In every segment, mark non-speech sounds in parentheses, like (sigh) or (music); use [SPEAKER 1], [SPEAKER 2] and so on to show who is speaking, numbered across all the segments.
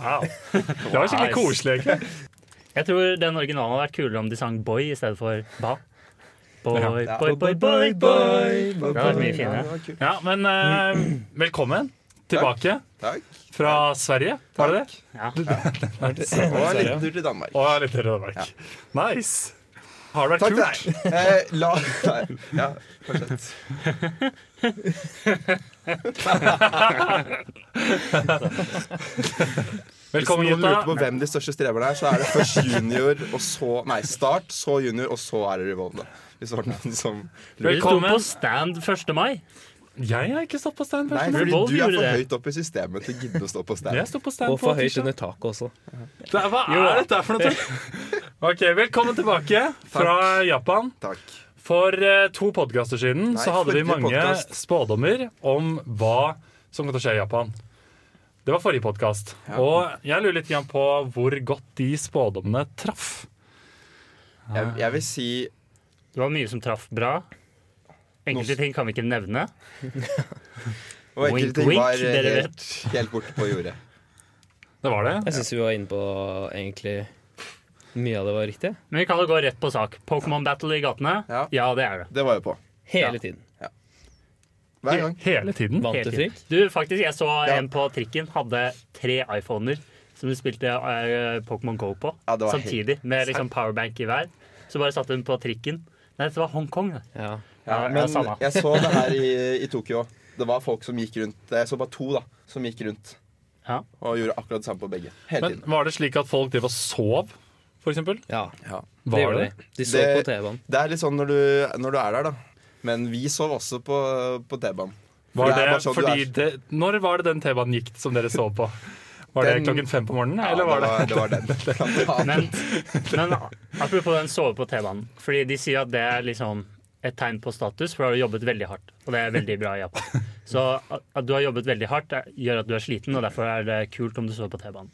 [SPEAKER 1] Wow. Det var skikkelig koselig, egentlig.
[SPEAKER 2] Jeg tror den originalen hadde vært kulere om de sang Boy i stedet for Ba. Boy,
[SPEAKER 1] Ja.
[SPEAKER 2] boy, boy, boy, boy. Det hadde vært mye
[SPEAKER 3] Ja, det
[SPEAKER 2] finere.
[SPEAKER 3] var kult.
[SPEAKER 1] Ja, men eh, velkommen tilbake
[SPEAKER 3] Takk.
[SPEAKER 1] fra Sverige, var det det? (laughs)
[SPEAKER 2] Ja.
[SPEAKER 3] Og en liten tur til Danmark.
[SPEAKER 1] Og litt til Danmark. Nice. Har det
[SPEAKER 3] Takk
[SPEAKER 1] vært
[SPEAKER 3] til
[SPEAKER 1] kult?
[SPEAKER 3] deg. Eh, la (laughs) Nei, Ja, fortsett. Hvis
[SPEAKER 1] Velkommen,
[SPEAKER 3] noen lurte på
[SPEAKER 1] gutta.
[SPEAKER 3] hvem de største streverne er, så er det først junior, og så Nei, start, så junior, og så er det revolvende. Hvis det var noen som
[SPEAKER 2] Vi sto
[SPEAKER 1] Velkommen.
[SPEAKER 2] på stand 1. mai.
[SPEAKER 1] Jeg har ikke stått på stand
[SPEAKER 3] Nei,
[SPEAKER 1] først.
[SPEAKER 3] fordi
[SPEAKER 2] Revolve
[SPEAKER 3] du er
[SPEAKER 2] gjorde
[SPEAKER 3] for
[SPEAKER 2] det.
[SPEAKER 3] høyt opp i systemet til å gidde å stå på stand.
[SPEAKER 1] Jeg sto på stand
[SPEAKER 4] Og for
[SPEAKER 1] på
[SPEAKER 4] høyt
[SPEAKER 1] tirsdag.
[SPEAKER 4] under taket også.
[SPEAKER 1] Det er- Hva er dette for noe? (laughs) Ok, Velkommen tilbake fra Japan.
[SPEAKER 3] Takk.
[SPEAKER 1] For eh, to podkaster siden
[SPEAKER 3] Nei,
[SPEAKER 1] så hadde vi
[SPEAKER 3] forrige
[SPEAKER 1] mange
[SPEAKER 3] podcast.
[SPEAKER 1] spådommer om hva som kom til å skje i Japan. Det var forrige podkast.
[SPEAKER 3] Ja.
[SPEAKER 1] Og jeg lurer litt grann på hvor godt de spådommene traff.
[SPEAKER 2] Ah.
[SPEAKER 3] Jeg, jeg vil si
[SPEAKER 2] Det var mye som traff bra. Enkelte ting kan vi ikke nevne.
[SPEAKER 3] Og
[SPEAKER 2] Wink,
[SPEAKER 3] enkelte ting
[SPEAKER 2] wink,
[SPEAKER 3] var eh,
[SPEAKER 2] dere
[SPEAKER 3] helt, helt borte på jordet.
[SPEAKER 1] Det var det.
[SPEAKER 4] Jeg syns vi var inne på egentlig mye av det var riktig.
[SPEAKER 2] Men vi kan jo gå rett på sak. Pokémon Battle i gatene?
[SPEAKER 3] Ja.
[SPEAKER 2] Ja, det er det.
[SPEAKER 3] Det var jeg på.
[SPEAKER 4] Hele
[SPEAKER 2] Ja.
[SPEAKER 4] tiden.
[SPEAKER 3] Hver gang.
[SPEAKER 1] Hele tiden.
[SPEAKER 4] Vant
[SPEAKER 2] Helt
[SPEAKER 4] du
[SPEAKER 2] fint.
[SPEAKER 4] frikk?
[SPEAKER 2] Du, faktisk, jeg så
[SPEAKER 3] Ja.
[SPEAKER 2] en på trikken hadde tre iPhoner som du spilte eh, Pokémon Go på
[SPEAKER 3] Ja, det var helt-
[SPEAKER 2] samtidig, med liksom powerbank i hver. Så bare satte hun på trikken. Nei, det var Hongkong. det.
[SPEAKER 4] Ja.
[SPEAKER 2] Ja,
[SPEAKER 3] Ja,
[SPEAKER 2] ja,
[SPEAKER 3] men
[SPEAKER 2] samme.
[SPEAKER 3] jeg så det her i, i Tokyo. Det var folk som gikk rundt. Jeg så bare to da, som gikk rundt
[SPEAKER 2] Ja.
[SPEAKER 3] og gjorde akkurat det samme på begge. Hele
[SPEAKER 1] Men
[SPEAKER 3] tiden.
[SPEAKER 1] var det slik at folk drev og sov, for eksempel?
[SPEAKER 4] ja.
[SPEAKER 3] Ja.
[SPEAKER 4] Det
[SPEAKER 1] Var
[SPEAKER 4] gjorde
[SPEAKER 1] det?
[SPEAKER 4] de. De så
[SPEAKER 3] Det-
[SPEAKER 4] på TV-en.
[SPEAKER 3] Det er litt sånn når du, når du er der, da. Men vi sov også på, på T-banen.
[SPEAKER 1] Var
[SPEAKER 3] Det er
[SPEAKER 1] det
[SPEAKER 3] bare sånn du
[SPEAKER 1] fordi
[SPEAKER 3] er.
[SPEAKER 1] det, Når var det den T-banen gikk som dere så på? Var det
[SPEAKER 3] Den-
[SPEAKER 1] klokken fem på morgenen,
[SPEAKER 3] Ja,
[SPEAKER 1] eller var det
[SPEAKER 3] det
[SPEAKER 1] (laughs)
[SPEAKER 3] var den. (laughs)
[SPEAKER 2] Men, men apropos den sove på T-banen. Fordi de sier at det er liksom et tegn på status, for da har du jobbet veldig hardt. Og det er veldig bra i
[SPEAKER 3] (laughs)
[SPEAKER 2] Japan. Så at at du har jobbet veldig hardt, er- gjør at du er sliten, og derfor er det kult om du sover på T-banen.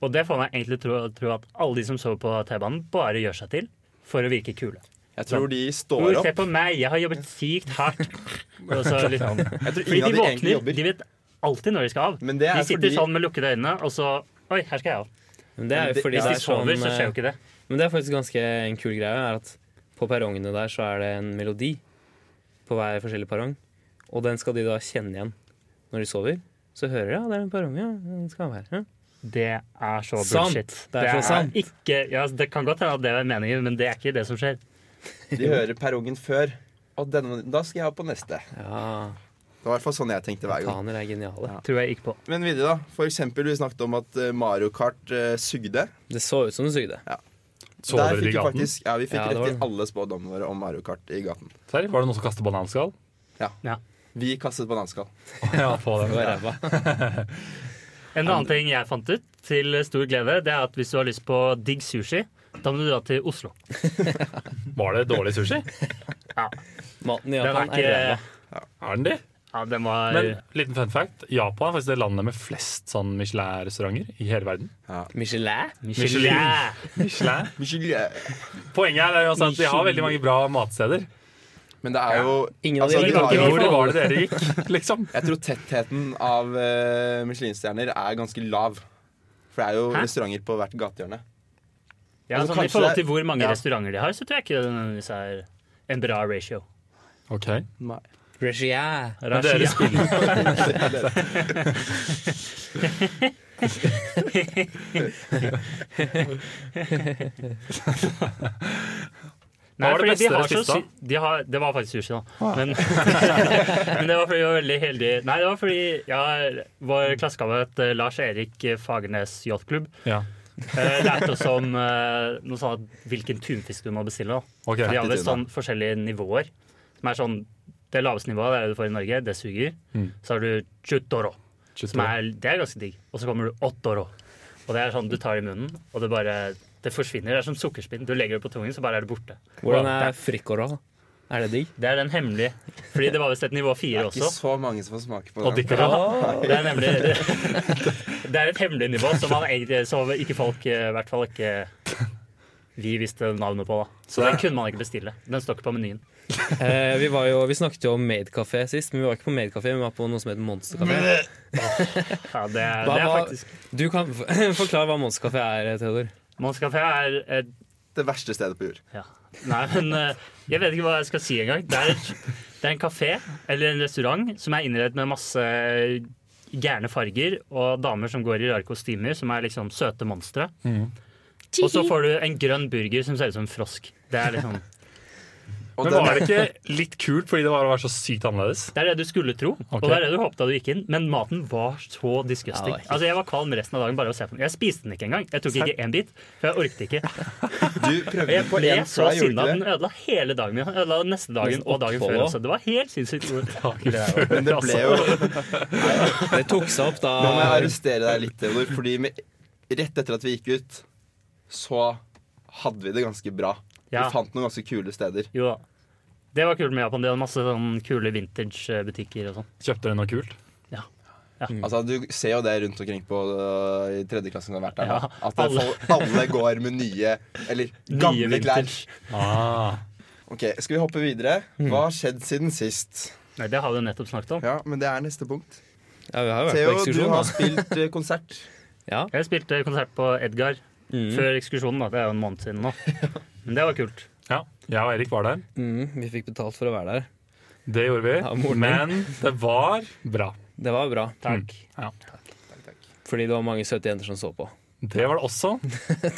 [SPEAKER 2] Og det får meg egentlig tro, tro at alle de som sover på T-banen, bare gjør seg til for å virke kule.
[SPEAKER 3] Jeg tror de
[SPEAKER 2] Oi,
[SPEAKER 3] står
[SPEAKER 2] se
[SPEAKER 3] opp.
[SPEAKER 2] på meg, jeg har jobbet sykt hardt.
[SPEAKER 3] (laughs)
[SPEAKER 2] Og så litt sånn.
[SPEAKER 3] Jeg tror
[SPEAKER 2] Fordi
[SPEAKER 3] ingen av
[SPEAKER 2] de
[SPEAKER 3] de egentlig
[SPEAKER 2] våkner,
[SPEAKER 3] jobber.
[SPEAKER 2] de vet alltid når de skal av.
[SPEAKER 3] Men det er
[SPEAKER 2] De sitter
[SPEAKER 3] fordi-
[SPEAKER 2] sånn med lukkede øyne, og så Oi, her skal jeg av.
[SPEAKER 4] Men det er
[SPEAKER 3] Men
[SPEAKER 4] jo
[SPEAKER 3] det-
[SPEAKER 4] fordi
[SPEAKER 3] hvis
[SPEAKER 2] Hvis de
[SPEAKER 4] det er sånn
[SPEAKER 2] sover, så skjer jo
[SPEAKER 4] eh,
[SPEAKER 2] ikke det.
[SPEAKER 4] Men det er faktisk ganske en kul greie, er at på perrongene der så er det en melodi på hver forskjellig perrong. Og den skal de da kjenne igjen når de sover. Så hører de ja, det er en perrong, ja, den skal være her. Ja.
[SPEAKER 2] Det er så
[SPEAKER 4] Sant.
[SPEAKER 2] bullshit.
[SPEAKER 4] Det er så sant.
[SPEAKER 2] Ikke, ja, altså, det kan godt hende at det er meningen, men det er ikke det som skjer.
[SPEAKER 3] De hører perrongen før. Og denne, da skal jeg ha på neste.
[SPEAKER 4] Ja,
[SPEAKER 3] Det var i hvert fall sånn jeg tenkte hver gang.
[SPEAKER 4] Japaner er geniale.
[SPEAKER 2] Tror jeg ikke på.
[SPEAKER 3] Men videre, da. For eksempel, vi snakket om at eh, Mario Kart eh, sugde.
[SPEAKER 4] Det så ut som du sugde.
[SPEAKER 1] Sov
[SPEAKER 3] Der
[SPEAKER 1] dere i
[SPEAKER 3] fikk vi
[SPEAKER 1] gaten?
[SPEAKER 3] faktisk Ja, vi fikk
[SPEAKER 4] Ja, det var
[SPEAKER 3] rett i
[SPEAKER 4] det.
[SPEAKER 3] alle spådommene våre om Mario Kart i gaten.
[SPEAKER 1] Serr, Var det noen som kastet bananskall?
[SPEAKER 3] Vi kastet bananskall.
[SPEAKER 1] (laughs) Ja, på
[SPEAKER 4] Det
[SPEAKER 1] den.
[SPEAKER 4] var ræva.
[SPEAKER 2] En annen ting jeg fant ut, til stor glede, det er at hvis du har lyst på digg sushi, da må du dra til Oslo.
[SPEAKER 1] Var det dårlig sushi?
[SPEAKER 2] Ja,
[SPEAKER 4] Maten i
[SPEAKER 2] den
[SPEAKER 4] Japan
[SPEAKER 2] er
[SPEAKER 4] er
[SPEAKER 2] ikke
[SPEAKER 4] ræva.
[SPEAKER 1] Er den det?
[SPEAKER 2] ja, den var
[SPEAKER 1] Men liten fun fact. Japan er faktisk det landet med flest sånn Michelin-restauranter i hele verden.
[SPEAKER 4] Michelin?
[SPEAKER 2] Michelin.
[SPEAKER 1] Michelin.
[SPEAKER 3] Men
[SPEAKER 1] (laughs) Poenget her er jo altså at de har veldig mange bra matsteder.
[SPEAKER 3] det er jo
[SPEAKER 4] Ingen av de
[SPEAKER 3] altså, de
[SPEAKER 4] er
[SPEAKER 3] har
[SPEAKER 4] like
[SPEAKER 3] jo,
[SPEAKER 1] Hvor var det dere gikk, (laughs) liksom?
[SPEAKER 3] Jeg tror tettheten av eh, Michelin-stjerner er ganske lav. For det er jo
[SPEAKER 2] Hæ?
[SPEAKER 3] restauranter på hvert gatehjørne.
[SPEAKER 2] Ja,
[SPEAKER 3] Altså,
[SPEAKER 2] sånn, I
[SPEAKER 3] kanskje
[SPEAKER 2] forhold
[SPEAKER 3] det
[SPEAKER 2] til
[SPEAKER 3] er-
[SPEAKER 2] hvor mange
[SPEAKER 3] ja.
[SPEAKER 2] restauranter de har, så tror jeg ikke det nødvendigvis er en bra ratio.
[SPEAKER 1] Ok.
[SPEAKER 4] Regien.
[SPEAKER 1] Men dere
[SPEAKER 2] Rashia.
[SPEAKER 1] spiller,
[SPEAKER 2] Nei,
[SPEAKER 1] Hva var det
[SPEAKER 2] fordi
[SPEAKER 1] beste
[SPEAKER 2] de har
[SPEAKER 1] dere
[SPEAKER 2] så
[SPEAKER 1] spiste, da?
[SPEAKER 2] sy- de har, Det var faktisk sushi, da. Men, (laughs) men det var fordi vi var veldig heldige. Nei, det var fordi ja, vår klassekamerat eh, Lars Erik Fagernes Yachtklubb
[SPEAKER 1] ja.
[SPEAKER 2] eh, lærte oss om eh, noe sånn at hvilken tunfisk du må bestille. da.
[SPEAKER 1] Ok.
[SPEAKER 2] De har
[SPEAKER 3] Fett i
[SPEAKER 2] visst sånn forskjellige nivåer. Som er sånn Det laveste nivået det er det du får i Norge, det suger.
[SPEAKER 1] Mm.
[SPEAKER 2] Så har du chutoro, som
[SPEAKER 1] Chutoro.
[SPEAKER 2] er, det er ganske digg. Og så kommer du ottoro. Og det er sånn du tar det i munnen, og det bare det forsvinner. Det er som sukkerspinn. Du legger det på tungen, så bare er det borte.
[SPEAKER 4] Hvordan er frikål? Er det digg?
[SPEAKER 2] Det er den hemmelige. Fordi det var visst et nivå fire
[SPEAKER 3] Ikke
[SPEAKER 2] også.
[SPEAKER 3] så mange som får smake på
[SPEAKER 1] Og
[SPEAKER 3] den.
[SPEAKER 1] dikkere.
[SPEAKER 2] Det er nemlig Det er et hemmelig nivå som man egentlig, så ikke folk eh, i hvert fall ikke vi visste navnet på, da. Så den kunne man ikke bestille. Den står ikke på menyen.
[SPEAKER 4] Eh, vi, var jo, vi snakket jo om Maidkafé sist, men vi var ikke på Maidkafé, vi var på noe som heter Monsterkafé.
[SPEAKER 2] Ja, det, er-
[SPEAKER 4] Hva-
[SPEAKER 2] det er
[SPEAKER 4] hva-
[SPEAKER 2] faktisk
[SPEAKER 4] Du kan (laughs) forklare hva Monsterkafé er, eh, Theodor.
[SPEAKER 2] Mons Café er et
[SPEAKER 3] Det verste stedet på jord.
[SPEAKER 2] ja. Nei, men eh, jeg vet ikke hva jeg skal si engang. Det er, et, det er en kafé eller en restaurant som er innredet med masse gærne farger og damer som går i rare kostymer, som er liksom søte monstre.
[SPEAKER 4] Mm.
[SPEAKER 2] Og så får du en grønn burger som ser ut som en frosk. Det er liksom
[SPEAKER 3] Og
[SPEAKER 1] Men
[SPEAKER 3] den-
[SPEAKER 1] var det ikke litt kult fordi det var å være så sykt annerledes?
[SPEAKER 2] Det er det du skulle tro, og
[SPEAKER 1] Ok.
[SPEAKER 2] det er det du håpet da du gikk inn. Men maten var så disgusting.
[SPEAKER 4] Ja, det var ikke-
[SPEAKER 2] altså, jeg var kvalm resten av dagen bare av å se på den. Jeg spiste den ikke engang. Jeg tok ikke én bit, for jeg orket ikke.
[SPEAKER 3] Du prøvde
[SPEAKER 2] Jeg
[SPEAKER 3] på
[SPEAKER 2] ble
[SPEAKER 3] én
[SPEAKER 2] så
[SPEAKER 3] fry,
[SPEAKER 2] sinna.
[SPEAKER 3] gjorde du
[SPEAKER 2] Den
[SPEAKER 3] ikke det?
[SPEAKER 2] ødela hele dagen min. Den Ødela neste dagen
[SPEAKER 4] Nesten
[SPEAKER 2] og dagen før
[SPEAKER 4] oppholdet.
[SPEAKER 2] også. Det var helt sinnssykt. (laughs)
[SPEAKER 3] (laughs)
[SPEAKER 2] Altså,
[SPEAKER 3] Men det ble jo
[SPEAKER 4] Det tok seg opp da
[SPEAKER 3] Nå må jeg arrestere deg litt, Theodor, fordi med, rett etter at vi gikk ut, så hadde vi det ganske bra.
[SPEAKER 2] Ja.
[SPEAKER 3] Vi fant noen ganske kule steder.
[SPEAKER 2] Jo da. Det var kult med Japan. De hadde masse sånn kule vintage-butikker og sånn.
[SPEAKER 1] Kjøpte dere noe kult?
[SPEAKER 3] Altså, Du ser jo det rundt omkring på øh, i tredje klasse som har vært der.
[SPEAKER 2] Ja,
[SPEAKER 3] nå, At det,
[SPEAKER 2] alle.
[SPEAKER 3] folk, alle går med nye, eller gamle
[SPEAKER 2] Nye
[SPEAKER 3] klær.
[SPEAKER 2] vintage.
[SPEAKER 1] Ah.
[SPEAKER 3] Ok, Skal vi hoppe videre? Hva har skjedd siden sist?
[SPEAKER 2] Nei, det har vi jo nettopp snakket om.
[SPEAKER 3] Ja, men det er neste punkt.
[SPEAKER 4] Ja, vi har jo vært
[SPEAKER 3] Theo,
[SPEAKER 4] på
[SPEAKER 3] du
[SPEAKER 4] ekskursjon,
[SPEAKER 3] har
[SPEAKER 4] da.
[SPEAKER 3] spilt øh, konsert.
[SPEAKER 4] Ja.
[SPEAKER 2] Jeg spilte konsert på Edgar
[SPEAKER 4] Mm.
[SPEAKER 2] før ekskursjonen, da. Det er jo en måned siden
[SPEAKER 3] (laughs)
[SPEAKER 2] nå. Men det var kult.
[SPEAKER 1] Ja, jeg og Erik var der.
[SPEAKER 4] Mm, vi fikk betalt for å være der.
[SPEAKER 1] Det gjorde vi.
[SPEAKER 4] Ja, moren min.
[SPEAKER 1] Men det var bra.
[SPEAKER 4] Det var bra,
[SPEAKER 2] Takk.
[SPEAKER 3] Mm.
[SPEAKER 4] fordi det var mange søte jenter som så på. (laughs)
[SPEAKER 1] Det var det også.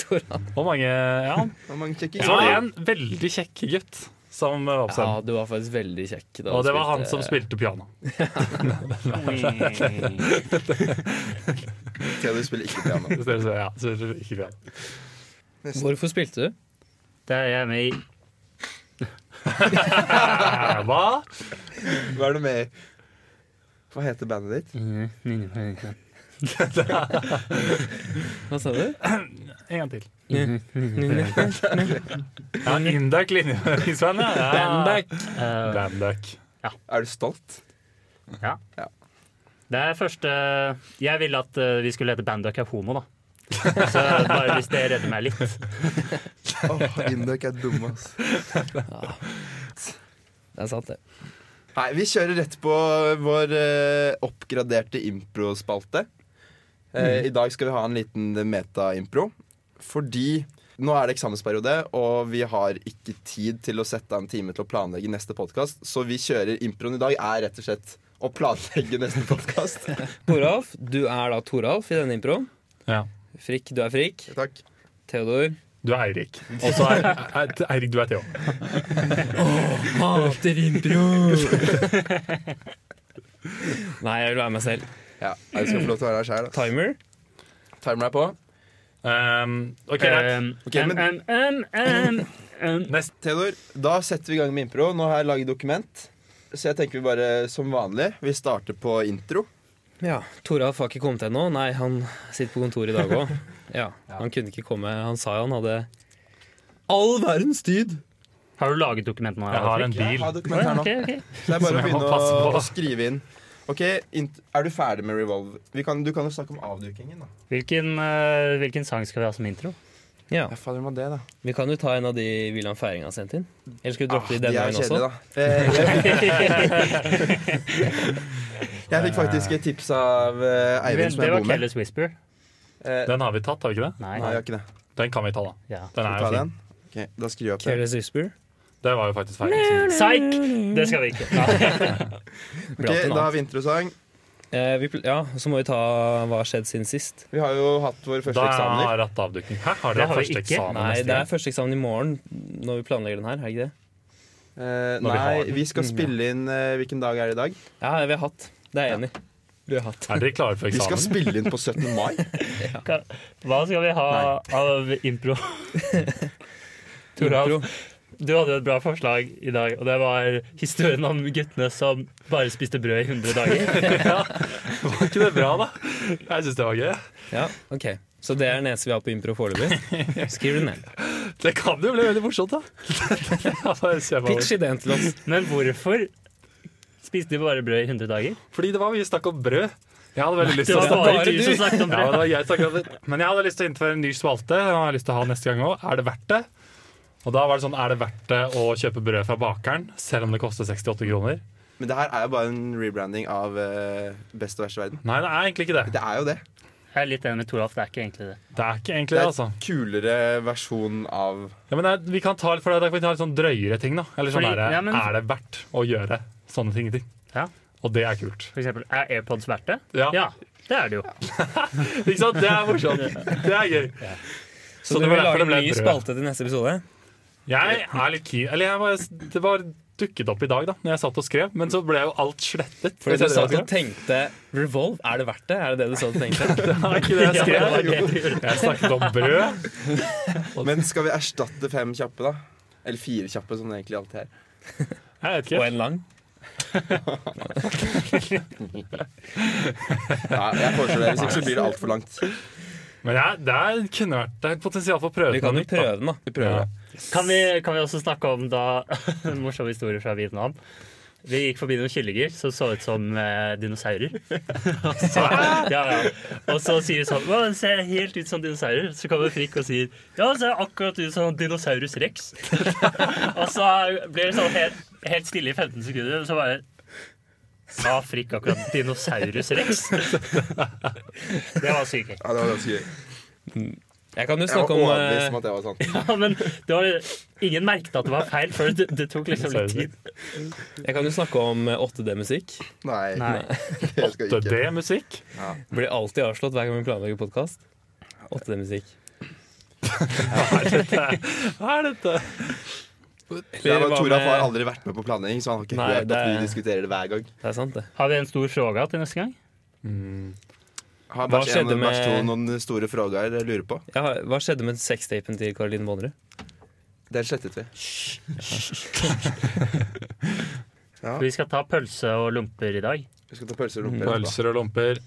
[SPEAKER 4] Toran.
[SPEAKER 1] Og mange Ja.
[SPEAKER 3] Og man sjekker
[SPEAKER 1] Så var det en veldig kjekk gutt som var på
[SPEAKER 4] Ja,
[SPEAKER 1] scenen.
[SPEAKER 4] du var faktisk veldig kjekk. da
[SPEAKER 1] Og
[SPEAKER 4] du
[SPEAKER 1] det var han
[SPEAKER 4] spilte-
[SPEAKER 1] som spilte piano.
[SPEAKER 3] Theodor spiller ikke piano.
[SPEAKER 1] Hvis dere ser- Ja, så dere ikke piano.
[SPEAKER 4] (laughs) Hvorfor spilte du?
[SPEAKER 2] Det er jeg med i.
[SPEAKER 1] Eh, Hva?
[SPEAKER 3] Hva er du med i? Hva heter bandet ditt?
[SPEAKER 4] Hva sa du?
[SPEAKER 1] (laughs) En gang til. Ja, Induck linjeføringsvenn, ja. ja.
[SPEAKER 4] Bandack.
[SPEAKER 2] Eh,
[SPEAKER 1] Bandack.
[SPEAKER 3] Er du stolt?
[SPEAKER 2] Det er første Jeg ville at eh, vi skulle hete Banduck er
[SPEAKER 3] (laughs)
[SPEAKER 2] homo, da. Så bare hvis det redder meg litt.
[SPEAKER 3] Åh, Indøk er dumme, ass.
[SPEAKER 4] Det er sant, det.
[SPEAKER 3] Nei, vi kjører rett på vår eh, oppgraderte improspalte. Eh, I dag skal vi ha en liten meta-impro. Fordi nå er det eksamensperiode, og vi har ikke tid til å sette av en time til å planlegge neste podkast, så vi kjører improen i dag er rett og slett å planlegge neste (laughs) podkast.
[SPEAKER 4] Toralf, du er da Toralf i denne improen.
[SPEAKER 1] Ja.
[SPEAKER 4] Frikk, du er Frikk.
[SPEAKER 3] Takk.
[SPEAKER 4] Theodor.
[SPEAKER 1] Du er Eirik. Og så er er- Eirik, du er Theo.
[SPEAKER 4] Hater impro! (laughs) Nei, jeg vil være meg selv.
[SPEAKER 3] Ja, jeg skal få lov til å være her sjæl.
[SPEAKER 4] Timer.
[SPEAKER 3] Timer deg på.
[SPEAKER 1] Um, ok, greit.
[SPEAKER 2] Um,
[SPEAKER 3] Ok, men-
[SPEAKER 2] um, um, um, um, um.
[SPEAKER 1] Neste.
[SPEAKER 3] Theodor, da setter vi i gang med impro. Nå har jeg laget dokument. Så jeg tenker vi bare som vanlig. Vi starter på intro.
[SPEAKER 4] Ja, Toralf har ikke kommet ennå. Nei, han sitter på kontoret i dag òg. (laughs) Ja, han kunne ikke komme. Han sa jo han hadde all verdens tid.
[SPEAKER 2] (laughs) Har du laget dokumentet nå?
[SPEAKER 1] Jeg har en
[SPEAKER 3] Jeg
[SPEAKER 1] bil.
[SPEAKER 3] har dokument her nå.
[SPEAKER 2] Ok, ok.
[SPEAKER 3] Det er bare å
[SPEAKER 1] Som jeg må
[SPEAKER 3] begynne
[SPEAKER 1] passe
[SPEAKER 3] å,
[SPEAKER 1] på.
[SPEAKER 3] å skrive inn. Ok, int Er du ferdig med Revolve? Vi kan, du kan jo snakke om avdukingen, da.
[SPEAKER 2] Hvilken, eh, hvilken sang skal vi ha som intro?
[SPEAKER 4] Ja,
[SPEAKER 3] Ja, fader, må det, da.
[SPEAKER 4] Vi kan jo ta en av de William Feiring har sendt inn. Eller skal vi droppe
[SPEAKER 3] Ah,
[SPEAKER 4] de
[SPEAKER 3] de
[SPEAKER 4] denne
[SPEAKER 3] er
[SPEAKER 4] gangen også?
[SPEAKER 3] kjedelige, da. Eh, jeg,
[SPEAKER 1] (laughs)
[SPEAKER 3] jeg fikk faktisk et tips av eh, Eivind, som
[SPEAKER 2] det
[SPEAKER 3] jeg
[SPEAKER 2] var
[SPEAKER 3] bor med.
[SPEAKER 2] Kellis Whisper.
[SPEAKER 3] Eh,
[SPEAKER 1] Den har vi tatt, har vi ikke det?
[SPEAKER 2] Nei.
[SPEAKER 3] nei, jeg har ikke det.
[SPEAKER 1] Den kan vi ta, da.
[SPEAKER 2] Ja.
[SPEAKER 1] Den
[SPEAKER 3] Skal
[SPEAKER 1] er
[SPEAKER 3] vi
[SPEAKER 1] jo
[SPEAKER 3] ta
[SPEAKER 1] fin.
[SPEAKER 3] den? Ok, Da skriver jeg opp det.
[SPEAKER 4] Careless Whisper.
[SPEAKER 1] Det var jo faktisk feil. liksom.
[SPEAKER 2] Psych! Det skal vi ikke. Nei.
[SPEAKER 3] Ok,
[SPEAKER 4] Blir alltid noe
[SPEAKER 3] Da har vi introsang.
[SPEAKER 4] annet. Eh, vi, pl- ja, så må vi ta hva har skjedd siden sist.
[SPEAKER 3] Vi har jo hatt våre første
[SPEAKER 1] Da
[SPEAKER 3] eksamener.
[SPEAKER 1] er ratt avdukning. Hæ, har
[SPEAKER 2] Da
[SPEAKER 1] dere
[SPEAKER 2] har vi
[SPEAKER 1] første
[SPEAKER 2] ikke.
[SPEAKER 1] eksamen
[SPEAKER 4] Nei,
[SPEAKER 1] neste
[SPEAKER 4] det er
[SPEAKER 1] gang?
[SPEAKER 4] første eksamen i morgen når vi planlegger den her. er det ikke det?
[SPEAKER 3] Eh,
[SPEAKER 1] vi har
[SPEAKER 3] nei,
[SPEAKER 1] den.
[SPEAKER 3] vi skal spille inn eh, Hvilken dag er det i dag?
[SPEAKER 4] Ja, vi har hatt. Det er jeg enig i. Vi har hatt.
[SPEAKER 1] Er dere klare for
[SPEAKER 3] Vi skal
[SPEAKER 1] eksamen?
[SPEAKER 3] spille inn på 17. mai.
[SPEAKER 2] Hva- Hva skal vi ha av
[SPEAKER 3] (laughs)
[SPEAKER 2] impro? Toralf.
[SPEAKER 4] Impro.
[SPEAKER 2] Du hadde jo et bra forslag i dag, og det var historien om guttene som bare spiste brød i 100 dager.
[SPEAKER 1] Var ikke det bra, da? Jeg syns det var gøy.
[SPEAKER 4] Ja, ok. Så det er den eneste vi har på impro foreløpig.
[SPEAKER 3] (laughs)
[SPEAKER 4] Skriv det ned.
[SPEAKER 1] Det kan jo bli veldig morsomt, da. Ja, bare se på det.
[SPEAKER 4] Pitch ideen til oss.
[SPEAKER 2] Men hvorfor spiste de bare brød i 100 dager?
[SPEAKER 1] Fordi det var mye snakk om brød. Jeg hadde veldig lyst
[SPEAKER 2] Det
[SPEAKER 1] til
[SPEAKER 2] var
[SPEAKER 1] å
[SPEAKER 2] bare
[SPEAKER 1] Ja,
[SPEAKER 2] du som snakket om
[SPEAKER 1] det
[SPEAKER 2] det.
[SPEAKER 1] var jeg som snakket om det. Men jeg hadde lyst til å innføre en ny spalte. Og jeg har lyst til å ha neste gang også. Er det verdt det? Og da var det sånn, er det verdt det å kjøpe brød fra bakeren, selv om det koster 68 kroner?
[SPEAKER 3] Men det her er jo bare en rebranding av eh, Best og verste verden.
[SPEAKER 1] Nei, det er egentlig ikke det.
[SPEAKER 3] Det er jo det.
[SPEAKER 2] Jeg er litt enig med Toralf, det er ikke egentlig det.
[SPEAKER 1] Det er ikke egentlig
[SPEAKER 3] Det
[SPEAKER 1] det,
[SPEAKER 3] er
[SPEAKER 1] altså.
[SPEAKER 3] en kulere versjon av
[SPEAKER 1] Ja, men det er, vi kan ta litt for det, da kan vi ta litt sånn drøyere ting, da. Eller sånn
[SPEAKER 2] Fordi-
[SPEAKER 1] der,
[SPEAKER 2] ja, men-
[SPEAKER 1] Er det verdt å gjøre sånne ting? ting?
[SPEAKER 2] Ja.
[SPEAKER 1] Og det er kult.
[SPEAKER 2] For eksempel, er AirPods verdt det?
[SPEAKER 1] Ja.
[SPEAKER 2] Ja, det er det jo.
[SPEAKER 1] Ikke sant? Det er morsomt. Det er gøy.
[SPEAKER 4] Så,
[SPEAKER 1] det var
[SPEAKER 4] du vil
[SPEAKER 1] derfor
[SPEAKER 4] lage
[SPEAKER 1] det ble
[SPEAKER 4] en ny
[SPEAKER 1] brød.
[SPEAKER 4] spalte til neste episode?
[SPEAKER 1] Jeg er litt keen. Eller jeg var, det var dukket opp i dag, da når jeg satt og skrev, men så ble jo alt slettet.
[SPEAKER 4] Fordi du
[SPEAKER 1] Jeg
[SPEAKER 4] sa
[SPEAKER 1] ser
[SPEAKER 4] at
[SPEAKER 1] det
[SPEAKER 4] du tenkte Revolve, er det verdt det? Er det det du sa du
[SPEAKER 1] (laughs)
[SPEAKER 4] tenkte?
[SPEAKER 1] Det var ikke
[SPEAKER 4] (laughs)
[SPEAKER 2] (laughs)
[SPEAKER 1] det jeg skrev.
[SPEAKER 2] det var det jeg gjorde.
[SPEAKER 1] Jeg snakket om brød.
[SPEAKER 3] Men skal vi erstatte fem kjappe, da? Eller fire kjappe, som det egentlig alltid er.
[SPEAKER 1] Jeg vet
[SPEAKER 4] Og
[SPEAKER 1] ikke.
[SPEAKER 4] en lang?
[SPEAKER 3] Ja, jeg foreslår det. Hvis ikke så blir det altfor langt.
[SPEAKER 1] Men jeg, det er- kunne vært Det er et potensial for å prøve noe
[SPEAKER 4] Vi kan jo
[SPEAKER 1] nytt, da.
[SPEAKER 4] prøve den, da.
[SPEAKER 3] Vi prøver
[SPEAKER 1] Ja.
[SPEAKER 3] det.
[SPEAKER 2] Kan vi, kan vi også snakke om da (laughs) en morsom historie fra Vietnam? Vi gikk forbi noen kyllinger som så ut som eh, dinosaurer. og, så, (laughs) ja, ja. og så sier vi sånn Å, den ser helt ut som dinosaurer. Så kommer Frikk og sier Ja, den ser akkurat ut som Dinosaurus rex. (laughs) og så blir det sånn helt, helt stille i 15 sekunder, og så bare Sa Frikk akkurat Dinosaurus rex? (laughs) det var sykt.
[SPEAKER 3] Ja, det var ganske gøy.
[SPEAKER 4] Jeg kan jo
[SPEAKER 3] Jeg var
[SPEAKER 4] snakke om
[SPEAKER 3] overbevist om
[SPEAKER 4] eh,
[SPEAKER 3] at det var sant.
[SPEAKER 2] Ja, men det var, ingen merket at det var feil før det, det tok liksom litt tid.
[SPEAKER 4] Jeg kan jo snakke om eh, 8D-musikk.
[SPEAKER 3] Nei,
[SPEAKER 2] Nei.
[SPEAKER 3] det skal (laughs) jeg ikke.
[SPEAKER 1] 8D-musikk.
[SPEAKER 4] Blir alltid avslått hver gang vi planlegger podkast. 8D-musikk.
[SPEAKER 1] Hva er dette?
[SPEAKER 3] Det er bare,
[SPEAKER 4] Eller hva
[SPEAKER 3] Toralf
[SPEAKER 4] med-
[SPEAKER 3] har aldri vært med på planlegging, så han har ikke
[SPEAKER 4] Nei,
[SPEAKER 3] hørt at
[SPEAKER 4] det-
[SPEAKER 3] vi diskuterer det hver gang.
[SPEAKER 4] Det er sant, det.
[SPEAKER 2] Har vi en stor fråga til neste gang?
[SPEAKER 3] Har
[SPEAKER 4] Hva
[SPEAKER 3] vers én
[SPEAKER 4] skjedde
[SPEAKER 3] og vers to
[SPEAKER 4] med-
[SPEAKER 3] noen store spørsmål jeg lurer på?
[SPEAKER 4] Jeg har, hva skjedde med sextapen til Caroline Bonnerud?
[SPEAKER 3] Den slettet vi. Ja.
[SPEAKER 2] Vi skal ta pølse og lomper i dag.
[SPEAKER 3] Vi skal ta pølser og lomper. etterpå.
[SPEAKER 1] Pølser og lomper.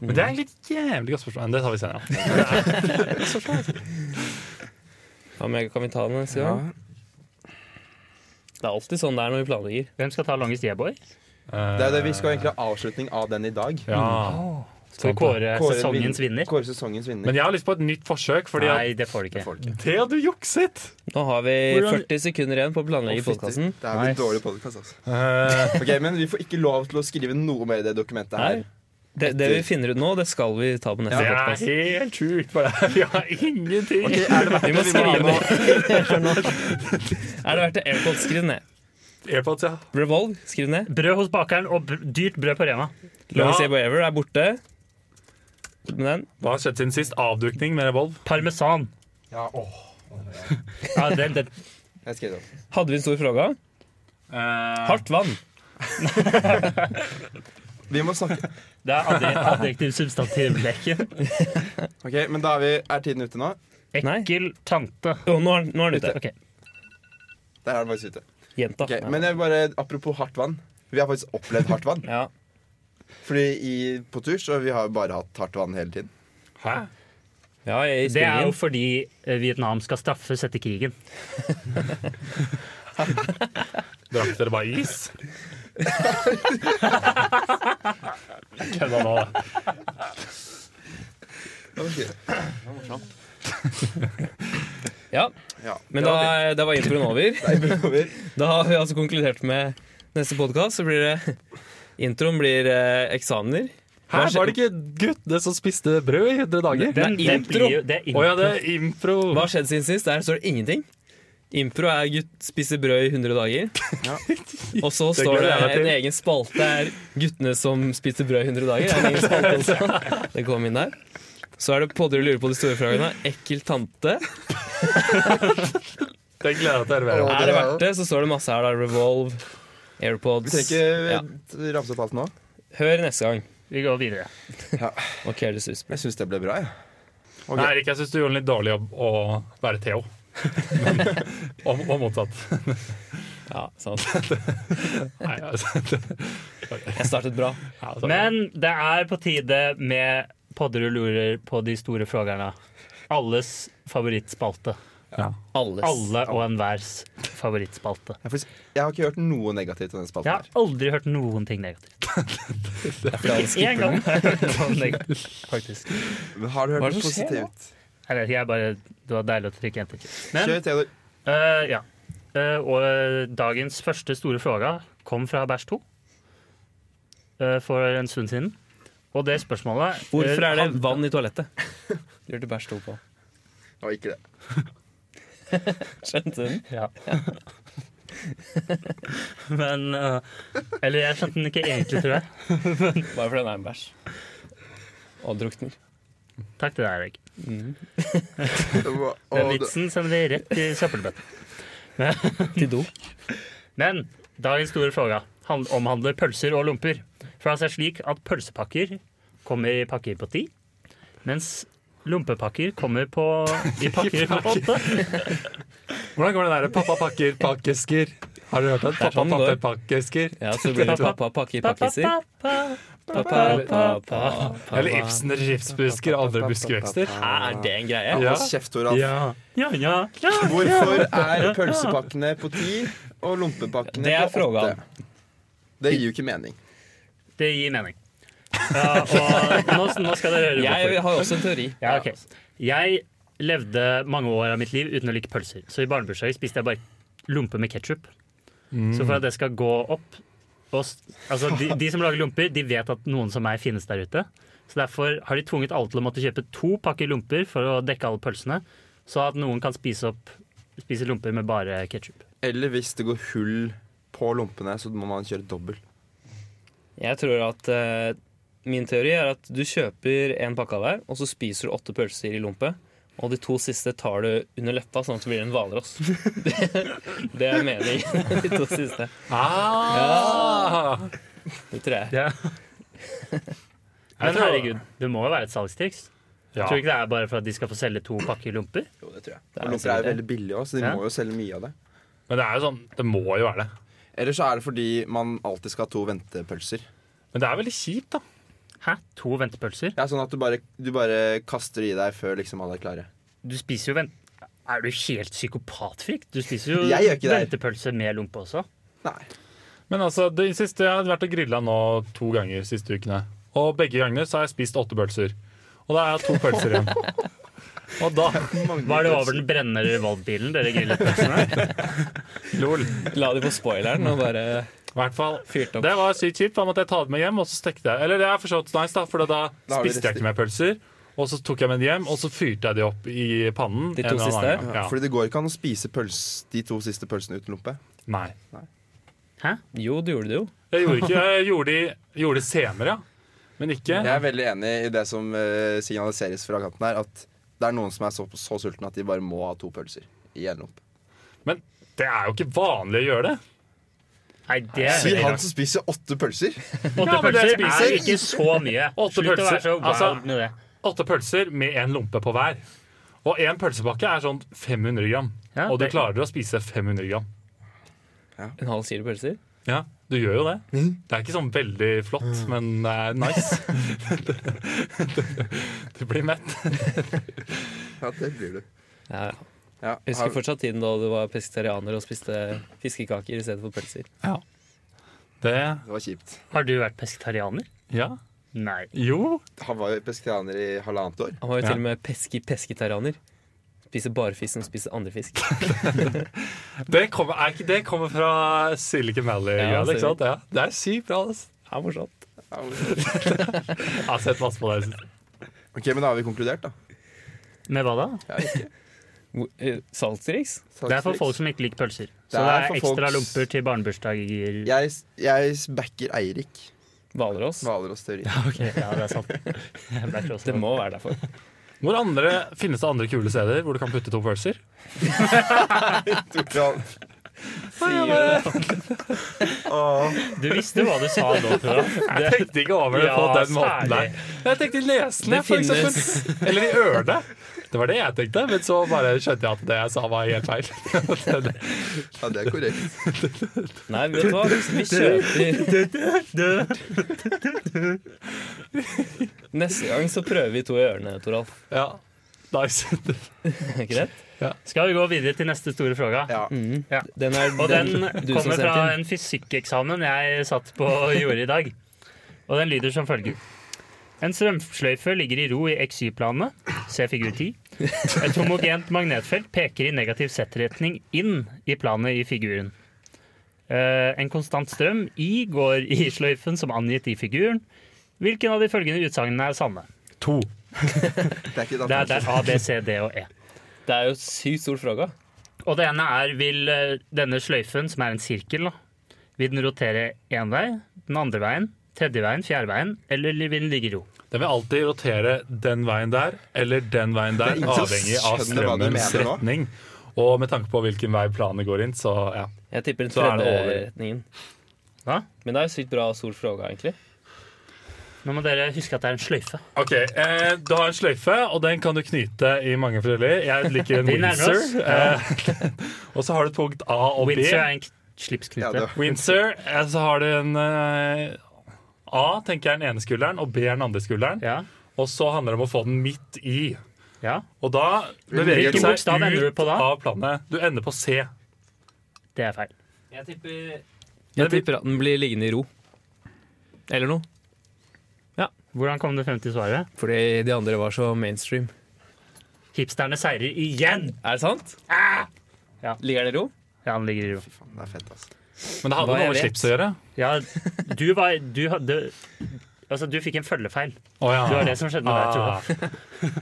[SPEAKER 1] Men det er egentlig et jævlig godt spørsmål. Men det tar vi senere. ja.
[SPEAKER 4] Ja, men kan vi ta den neste
[SPEAKER 3] Ja.
[SPEAKER 4] gang? Det er alltid sånn det er når vi planlegger.
[SPEAKER 2] Hvem skal ta longest yeah-boy?
[SPEAKER 3] Det er jo det Vi skal egentlig ha avslutning av den i dag.
[SPEAKER 1] Ja.
[SPEAKER 2] Skal vi kåre
[SPEAKER 3] Kåre
[SPEAKER 2] sesongens
[SPEAKER 3] vin-
[SPEAKER 2] vinner?
[SPEAKER 3] Kåre sesongens vinner.
[SPEAKER 1] Men jeg har lyst på et nytt forsøk, fordi at
[SPEAKER 2] Nei, det får du
[SPEAKER 3] Det
[SPEAKER 2] ikke.
[SPEAKER 3] får du ikke.
[SPEAKER 1] Thea, du jukset!
[SPEAKER 4] Nå har vi
[SPEAKER 2] Hvordan-
[SPEAKER 4] 40 sekunder igjen på å
[SPEAKER 3] Å,
[SPEAKER 4] planlegge
[SPEAKER 3] fitte.
[SPEAKER 4] podkasten.
[SPEAKER 3] Det er jo en
[SPEAKER 2] Nice.
[SPEAKER 3] dårlig podkast, altså.
[SPEAKER 1] Eh,
[SPEAKER 3] (laughs) Ok, Men vi får ikke lov til å skrive noe mer i det dokumentet her.
[SPEAKER 4] Nei. Det, det vi finner ut nå, det skal vi ta på neste
[SPEAKER 1] det er
[SPEAKER 4] podcast.
[SPEAKER 1] helt sjukt
[SPEAKER 4] (laughs)
[SPEAKER 1] for deg.
[SPEAKER 2] (laughs)
[SPEAKER 1] Vi har ingenting.
[SPEAKER 3] Ok, er det verdt
[SPEAKER 4] Vi må
[SPEAKER 3] det? Vi må ha
[SPEAKER 4] skrive
[SPEAKER 3] noe-
[SPEAKER 4] (laughs) Er det verdt det? Airpods, skriv det ned.
[SPEAKER 1] Airpods, ja.
[SPEAKER 4] Revolve, skriv det ned.
[SPEAKER 2] Brød hos bakeren og br dyrt brød på Rema.
[SPEAKER 4] Longest
[SPEAKER 1] Ja.
[SPEAKER 4] Ever Ever er borte. Men den,
[SPEAKER 1] Hva har skjedd siden sist? Avdukning med revolv.
[SPEAKER 2] Parmesan.
[SPEAKER 3] Ja, åh,
[SPEAKER 2] Ja, den, den.
[SPEAKER 3] jeg skrev det opp.
[SPEAKER 4] hadde vi en stor fråga?
[SPEAKER 1] Eh,
[SPEAKER 4] Hardt vann.
[SPEAKER 3] Vi må snakke.
[SPEAKER 2] Det er adde- adjektiv substantivleken.
[SPEAKER 3] Ok, Men da er, vi, er tiden ute nå.
[SPEAKER 4] Nei.
[SPEAKER 2] Ekkel tante.
[SPEAKER 4] Å, nå er den- nå er den ute.
[SPEAKER 2] Ok,
[SPEAKER 3] Der er den faktisk ute.
[SPEAKER 4] Jenta.
[SPEAKER 3] Ok, Men jeg vil bare, apropos hardt vann. Vi har faktisk opplevd hardt vann.
[SPEAKER 4] Ja.
[SPEAKER 3] Fordi i, på tur så vi har bare hatt hardt vann hele tiden.
[SPEAKER 1] Hæ?
[SPEAKER 4] ja, i
[SPEAKER 2] Det er jo
[SPEAKER 4] spillingen.
[SPEAKER 2] fordi eh, Vietnam skal straffes etter krigen.
[SPEAKER 1] Drakk dere bare is? Jeg Kødda nå, da.
[SPEAKER 4] Ja,
[SPEAKER 3] Ja,
[SPEAKER 4] men
[SPEAKER 3] det var fint.
[SPEAKER 4] da, da var introen over.
[SPEAKER 3] (laughs) Nei, bra, over.
[SPEAKER 4] Da har vi altså konkludert med neste podkast, så blir det Introen blir eh, eksamener.
[SPEAKER 1] Hæ, var det ikke guttene som spiste brød i 100 dager?
[SPEAKER 2] Den,
[SPEAKER 4] Nei,
[SPEAKER 2] den
[SPEAKER 4] intro.
[SPEAKER 2] blir jo, det er
[SPEAKER 1] Å
[SPEAKER 2] intro.
[SPEAKER 1] ja, det er impro.
[SPEAKER 4] Hva har skjedd siden sist? Der står det ingenting. Impro er gutt spiser brød i 100 dager.
[SPEAKER 3] Ja.
[SPEAKER 4] (laughs) Og så
[SPEAKER 1] Det
[SPEAKER 4] står
[SPEAKER 1] gleder
[SPEAKER 4] det
[SPEAKER 1] jeg meg til.
[SPEAKER 4] en egen spalte er 'Guttene som spiser brød i 100 dager'. Det er en egen spalte
[SPEAKER 1] (laughs)
[SPEAKER 4] også. Det kom inn der. Så er det podder lurer på de store fragene. Ekkel tante.
[SPEAKER 1] Det gleder jeg meg til å høre mer om.
[SPEAKER 3] Å,
[SPEAKER 4] Er det verdt det? Så står det masse her. da Revolve,
[SPEAKER 3] Vi
[SPEAKER 4] AirPods
[SPEAKER 3] trenger
[SPEAKER 4] Ja.
[SPEAKER 3] ikke ramse opp alt nå.
[SPEAKER 4] Hør neste gang.
[SPEAKER 2] Vi går videre.
[SPEAKER 4] Og Careless Whisper.
[SPEAKER 3] Jeg syns det ble bra, jeg. Ok.
[SPEAKER 1] Nei, Erik, jeg syns du gjorde en litt dårlig jobb å være (laughs) Theo. Men- Og, og motsatt.
[SPEAKER 4] Ja, sant.
[SPEAKER 1] Nei, altså, (laughs) det-
[SPEAKER 4] Jeg startet bra.
[SPEAKER 1] ja, altså,
[SPEAKER 2] Men det er på tide med podder og lurer på de store frågerne. Alles favorittspalte.
[SPEAKER 1] ja.
[SPEAKER 4] Alles.
[SPEAKER 2] Alle og enhvers. favorittspalte.
[SPEAKER 3] Jeg, får, s- jeg har ikke hørt noe negativt om den spalten.
[SPEAKER 2] Jeg har
[SPEAKER 3] her
[SPEAKER 2] aldri hørt noen ting negativt. (laughs) Ikke én gang har jeg (laughs) hørt noe negativt, faktisk.
[SPEAKER 3] Men Har du hørt
[SPEAKER 4] Hva er
[SPEAKER 3] noe
[SPEAKER 4] det som skjer nå?
[SPEAKER 3] positivt?
[SPEAKER 2] Jeg vet ikke, jeg bare Det var deilig å trykke en til. Men
[SPEAKER 3] Kjør, Theodor.
[SPEAKER 2] eh, ja. Eh, og eh, dagens første store fråga kom fra Bæsj 2 eh, for en stund siden. Og det spørsmålet eh,
[SPEAKER 4] Hvorfor er det
[SPEAKER 2] han-
[SPEAKER 4] vann i toalettet? Gjør til bæsj to på.
[SPEAKER 3] Å, ikke det.
[SPEAKER 4] Skjønte den?
[SPEAKER 2] Ja. Men eh, Eller jeg skjønte den ikke egentlig, tror jeg.
[SPEAKER 4] Bare fordi den er en bæsj. Og drukner.
[SPEAKER 2] Takk til deg, Erik.
[SPEAKER 3] (laughs) Det var-
[SPEAKER 2] Den
[SPEAKER 3] å, det-
[SPEAKER 2] vitsen sender vi rett i søppelbøtta.
[SPEAKER 4] Til do.
[SPEAKER 2] Men dagens store fråga hand- omhandler pølser og lomper. For det er slik at pølsepakker kommer i pakker på ti, mens lompepakker kommer på, i pakker på åtte.
[SPEAKER 1] Hvordan går den der pappa pakker pakkesker? Har dere hørt den?
[SPEAKER 4] er
[SPEAKER 1] Pappa
[SPEAKER 4] sånn det
[SPEAKER 1] pakker
[SPEAKER 4] går.
[SPEAKER 1] pakkesker.
[SPEAKER 4] Ja, så blir
[SPEAKER 2] (laughs)
[SPEAKER 4] det pappa pakke i pakkiser. Pappa, pappa, pappa.
[SPEAKER 1] Eller Ibsen ripsbusker og andre buskevekster.
[SPEAKER 4] Hæ, er det en greie?
[SPEAKER 1] Ja.
[SPEAKER 3] Hold kjeft, Toralf.
[SPEAKER 1] Ja.
[SPEAKER 2] Ja, ja, ja.
[SPEAKER 3] (laughs) Hvorfor er pølsepakkene på ti og lompepakkene
[SPEAKER 4] Det er
[SPEAKER 3] på åtte?
[SPEAKER 4] frågan.
[SPEAKER 3] Det gir jo ikke mening.
[SPEAKER 2] Det gir mening. Ja, og nå, nå skal dere høre hvorfor.
[SPEAKER 4] Jeg har også en teori.
[SPEAKER 2] (laughs) Ja, ok. Jeg levde mange år av mitt liv uten å like pølser. Så i barnebursdager spiste jeg bare lompe med ketsjup. Så for at det skal gå opp og, s- altså, de, de som lager lomper, de vet at noen som meg finnes der ute. Så derfor har de tvunget alle til å måtte kjøpe to pakker lomper for å dekke alle pølsene. Så at noen kan spise, opp, spise lomper med bare ketsjup.
[SPEAKER 3] Eller hvis det går hull på lompene, så må man kjøre dobbel.
[SPEAKER 4] Jeg tror at eh, Min teori er at du kjøper en pakke av hver, og så spiser du åtte pølser i lompe. Og de to siste tar du under leppa, sånn at det blir en hvalross. (laughs) Det, det er meningen. (laughs) De to siste.
[SPEAKER 1] Ah!
[SPEAKER 4] Det tror jeg.
[SPEAKER 2] Men
[SPEAKER 1] tror-
[SPEAKER 2] herregud, det må jo være et salgstriks.
[SPEAKER 1] Ja.
[SPEAKER 2] Jeg tror ikke det er bare for at de skal få selge to pakker lomper.
[SPEAKER 3] Jo, det tror jeg.
[SPEAKER 4] er
[SPEAKER 3] Og lomper er jo
[SPEAKER 4] sikkert det.
[SPEAKER 3] veldig billige også, så de
[SPEAKER 2] Ja.
[SPEAKER 3] må jo selge mye av det.
[SPEAKER 1] Men det er jo sånn, det må jo være det.
[SPEAKER 3] Eller så er det fordi man alltid skal ha to ventepølser.
[SPEAKER 1] Men det er veldig kjipt, da.
[SPEAKER 2] Hæ? To ventepølser?
[SPEAKER 3] Ja, sånn at du bare, du bare kaster i deg før liksom alle er klare.
[SPEAKER 2] Du spiser jo vent... Er du helt psykopatfrik? Du spiser jo
[SPEAKER 3] Jeg gjør ikke det.
[SPEAKER 2] ventepølse med lompe også.
[SPEAKER 3] Nei.
[SPEAKER 1] Men altså, det siste, jeg har vært og grilla nå to ganger de siste ukene. Og begge gangene så har jeg spist åtte pølser. Og da har jeg to pølser igjen. Og da
[SPEAKER 2] Var det over den brennende revoltbilen dere grillet pølsene?
[SPEAKER 1] (laughs) Lol.
[SPEAKER 4] La de på spoileren og bare
[SPEAKER 1] I hvert fall.
[SPEAKER 4] fyrte opp.
[SPEAKER 1] Det var sykt kjipt. Da måtte jeg ta det med hjem, og så stekte jeg. Eller det er for så vidt nice, da, for da
[SPEAKER 3] Da har du
[SPEAKER 1] spiste jeg
[SPEAKER 3] rester.
[SPEAKER 1] ikke mer pølser. Og så tok jeg med det hjem, og så fyrte jeg de opp i pannen.
[SPEAKER 4] De to
[SPEAKER 1] en eller annen
[SPEAKER 4] siste?
[SPEAKER 1] gang.
[SPEAKER 3] Fordi det går ikke an å spise pøls, de to siste pølsene uten lompe.
[SPEAKER 1] Ja. Nei.
[SPEAKER 2] Hæ?
[SPEAKER 4] Jo, det gjorde de jo.
[SPEAKER 1] Jeg gjorde ikke Jeg gjorde de, gjorde de senere, ja. Men ikke
[SPEAKER 3] Jeg er veldig enig i det som eh, signaliseres fra kanten her, at det er noen som er så, så sultne at de bare må ha to pølser i en lompe.
[SPEAKER 1] Men det er jo ikke vanlig å gjøre det.
[SPEAKER 2] Nei, det er
[SPEAKER 3] Sier
[SPEAKER 2] veldig
[SPEAKER 3] han
[SPEAKER 2] rart.
[SPEAKER 3] som spiser åtte pølser!
[SPEAKER 2] Åtte
[SPEAKER 1] Ja, men dere
[SPEAKER 2] pølser
[SPEAKER 1] spiser-
[SPEAKER 2] er ikke så mye.
[SPEAKER 1] Åtte
[SPEAKER 2] Slutt å
[SPEAKER 1] pølser,
[SPEAKER 2] være så wild
[SPEAKER 1] altså-
[SPEAKER 2] med det.
[SPEAKER 1] Åtte pølser med en lompe på hver. Og én pølsepakke er sånn 500 gram.
[SPEAKER 2] Ja,
[SPEAKER 1] og du
[SPEAKER 2] det-
[SPEAKER 1] klarer å spise 500 gram.
[SPEAKER 4] En halv kilo pølser.
[SPEAKER 1] Ja, du gjør jo det. Det er ikke sånn veldig flott, men det er nice. (laughs) Du blir mett.
[SPEAKER 3] (laughs) Ja, det blir du. Ja,
[SPEAKER 4] Ja, jeg
[SPEAKER 3] har-
[SPEAKER 4] husker fortsatt tiden da du var pesketarianer og spiste fiskekaker istedenfor pølser.
[SPEAKER 1] Det
[SPEAKER 3] det var kjipt.
[SPEAKER 2] Har du vært pesketarianer?
[SPEAKER 1] Ja.
[SPEAKER 2] Nei.
[SPEAKER 1] Jo.
[SPEAKER 3] Han var jo pesketarianer i halvannet år.
[SPEAKER 4] Han var jo
[SPEAKER 1] Ja.
[SPEAKER 4] til og med peski-pesketarianer. Spiser bare fisk som spiser andre fisk.
[SPEAKER 1] Det kommer, er ikke, det kommer fra Silicon Valley.
[SPEAKER 4] Ja,
[SPEAKER 1] Ja,
[SPEAKER 4] ser
[SPEAKER 1] ikke sant? Ja. Det er sykt bra. ass.
[SPEAKER 4] Det er morsomt.
[SPEAKER 1] Jeg har sett masse på det. jeg synes.
[SPEAKER 3] Ok, Men da har vi konkludert, da.
[SPEAKER 2] Med hva da?
[SPEAKER 4] Hvor- eh, Salgstriks?
[SPEAKER 2] Det er for folk som ikke liker pølser.
[SPEAKER 3] Det
[SPEAKER 2] Så det
[SPEAKER 3] er
[SPEAKER 2] er
[SPEAKER 3] for
[SPEAKER 2] ekstra
[SPEAKER 3] folks-
[SPEAKER 2] lomper til barnebursdager.
[SPEAKER 3] Jeg, jeg backer Eirik
[SPEAKER 4] Hvalross?
[SPEAKER 3] Hvalers teori. (laughs)
[SPEAKER 2] Ja, det er sant. Jeg ble
[SPEAKER 4] Det
[SPEAKER 2] også-
[SPEAKER 4] må være derfor.
[SPEAKER 1] Hvor andre, Finnes det andre kule steder hvor du kan putte to pølser?
[SPEAKER 3] Toralf.
[SPEAKER 2] Du visste hva du sa nå, tror
[SPEAKER 3] (laughs)
[SPEAKER 2] jeg.
[SPEAKER 1] Jeg tenkte ikke over det på
[SPEAKER 2] Ja,
[SPEAKER 1] den måten
[SPEAKER 2] særlig.
[SPEAKER 1] der. Jeg tenkte i Lesene,
[SPEAKER 4] Det
[SPEAKER 1] for eksempel. Eller i Ørne. Det var det jeg tenkte, men så bare skjønte jeg at det jeg sa var helt feil. (laughs)
[SPEAKER 3] Ja, det er korrekt.
[SPEAKER 4] Nei, vet du hva? Vi kjøper Neste gang så prøver vi to i ørene, Toralf.
[SPEAKER 1] Ja. Nice.
[SPEAKER 4] ikke det?
[SPEAKER 2] Skal vi gå videre til neste store fråga?
[SPEAKER 3] Ja.
[SPEAKER 4] Mm.
[SPEAKER 2] Ja.
[SPEAKER 4] Den er
[SPEAKER 2] Og den
[SPEAKER 4] du som
[SPEAKER 2] kommer
[SPEAKER 4] sendte
[SPEAKER 2] fra
[SPEAKER 4] inn.
[SPEAKER 2] en fysikkeksamen jeg satt på og gjorde i dag. Og den lyder som følger. En strømsløyfe ligger i ro i XY-planene, se figur 10. Et homogent magnetfelt peker i negativ Z-retning inn i planet i figuren. Eh, En konstant strøm I går i sløyfen som angitt i figuren. Hvilken av de følgende utsagnene er sanne?
[SPEAKER 1] To.
[SPEAKER 3] Det er ikke et
[SPEAKER 2] Det er der
[SPEAKER 3] alternativ.
[SPEAKER 2] A, B, C, D og E.
[SPEAKER 4] Det er jo sykt stor fråga.
[SPEAKER 2] Og det ene er vil eh, denne sløyfen, som er en sirkel, da, vil den rotere én vei, den andre veien, tredje veien, fjerde veien, eller vil den ligge i ro?
[SPEAKER 1] Den vil alltid rotere den veien der eller den veien der,
[SPEAKER 3] Det er ingen som
[SPEAKER 1] avhengig av
[SPEAKER 3] skjønner hva du
[SPEAKER 1] strømmens
[SPEAKER 3] mener nå.
[SPEAKER 1] retning. Og med tanke på hvilken vei planet går inn, så ja.
[SPEAKER 4] Jeg tipper den
[SPEAKER 1] Så er det over.
[SPEAKER 4] tredje retningen.
[SPEAKER 2] Hva?
[SPEAKER 4] Men det er jo sykt bra og stor fråga, egentlig.
[SPEAKER 2] Nå må dere huske at det er en sløyfe.
[SPEAKER 1] Ok, eh, Du har en sløyfe, og den kan du knyte i mange forskjellige. Jeg liker en
[SPEAKER 2] (laughs) Vi nærmer
[SPEAKER 1] Windsor.
[SPEAKER 2] oss.
[SPEAKER 1] Eh, (laughs) og så har du et punkt A og B.
[SPEAKER 2] Windsor er en k-
[SPEAKER 3] Ja,
[SPEAKER 2] slipsknute.
[SPEAKER 3] det
[SPEAKER 1] Windsor, eh, så har du en eh, A tenker jeg er den ene skulderen, og B er den andre skulderen.
[SPEAKER 2] Ja,
[SPEAKER 1] Og så handler det om å få den midt i.
[SPEAKER 2] ja.
[SPEAKER 1] Og da beveger
[SPEAKER 2] Hvilken
[SPEAKER 1] den seg
[SPEAKER 2] bokstav ender du
[SPEAKER 1] ut
[SPEAKER 2] på da?
[SPEAKER 1] av planet. Du ender på C.
[SPEAKER 2] Det er feil.
[SPEAKER 4] Jeg tipper,
[SPEAKER 1] Men vi-
[SPEAKER 4] at den blir liggende i ro. Eller noe.
[SPEAKER 2] Hvordan kom du frem til svaret?
[SPEAKER 4] Fordi de andre var så mainstream.
[SPEAKER 2] Hipsterne seirer igjen!
[SPEAKER 4] Er det sant?
[SPEAKER 2] Ja.
[SPEAKER 4] Ligger den i ro?
[SPEAKER 2] Ja, han ligger i ro.
[SPEAKER 3] Faen, det er fett, altså.
[SPEAKER 1] Men det
[SPEAKER 4] Hva
[SPEAKER 1] hadde
[SPEAKER 4] jeg
[SPEAKER 1] noe med
[SPEAKER 4] vet.
[SPEAKER 1] slips å gjøre.
[SPEAKER 2] Ja, du var Du hadde Altså, du fikk en følgefeil.
[SPEAKER 1] Oh, ja.
[SPEAKER 2] Det var det som skjedde med deg, tror
[SPEAKER 1] Ah,
[SPEAKER 2] jeg.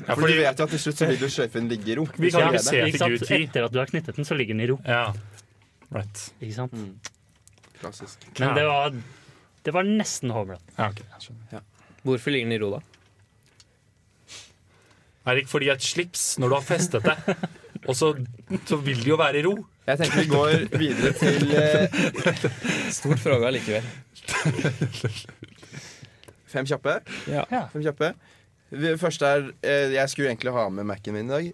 [SPEAKER 1] Ja,
[SPEAKER 3] For du
[SPEAKER 1] fordi,
[SPEAKER 3] vet jo at til slutt så vil jo sløyfen ligge i ro.
[SPEAKER 1] Vi kan
[SPEAKER 2] Ja,
[SPEAKER 1] ikke se
[SPEAKER 2] ikke sant?
[SPEAKER 1] figur 10.
[SPEAKER 2] Etter at du har knyttet den, så ligger den i ro.
[SPEAKER 1] ja. Right.
[SPEAKER 2] Ikke sant?
[SPEAKER 3] Klassisk.
[SPEAKER 2] Men det var, det var nesten home run.
[SPEAKER 1] Ja, ok, jeg skjønner.
[SPEAKER 4] Hvorfor ligger den i ro, da?
[SPEAKER 1] Er det ikke fordi et slips, når du har festet (laughs) det, og så, så vil det jo være i ro?
[SPEAKER 3] Jeg tenker vi går videre til eh,
[SPEAKER 4] Stor fråga likevel.
[SPEAKER 3] fem kjappe.
[SPEAKER 4] Ja.
[SPEAKER 3] Fem kjappe. Vi- Første er eh, Jeg skulle egentlig ha med Mac-en min i dag.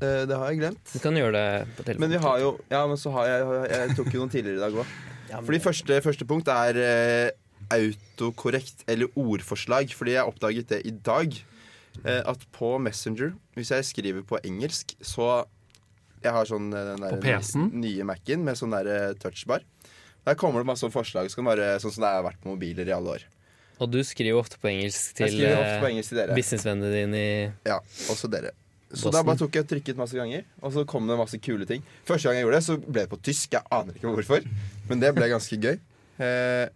[SPEAKER 3] Eh, Det har jeg glemt.
[SPEAKER 4] Du kan gjøre det på telefonen.
[SPEAKER 3] Men vi har jo Ja, men så har jeg Jeg tok jo noen tidligere i dag òg.
[SPEAKER 4] Ja, men-
[SPEAKER 3] Fordi første, første punkt er eh, autokorrekt eller ordforslag. Fordi jeg oppdaget det i dag. Eh, at på Messenger, hvis jeg skriver på engelsk, så Jeg har sånn eh, den
[SPEAKER 1] På
[SPEAKER 3] der
[SPEAKER 1] PC-en?
[SPEAKER 3] nye Mac-en med sånn der eh, touchbar. Der kommer det masse forslag som kan være sånn som det har vært på mobiler i alle år.
[SPEAKER 4] Og du skriver ofte på
[SPEAKER 3] Jeg
[SPEAKER 4] engelsk til
[SPEAKER 3] skriver ofte
[SPEAKER 4] eh,
[SPEAKER 3] på engelsk til dere.
[SPEAKER 4] businessvennene dine i
[SPEAKER 3] Ja, også dere. Så
[SPEAKER 4] Boston.
[SPEAKER 3] da bare tok jeg og trykket masse ganger, og så kom det masse kule ting. Første gang jeg gjorde det, så ble det på tysk. Jeg aner ikke hvorfor, men det ble ganske gøy. Eh,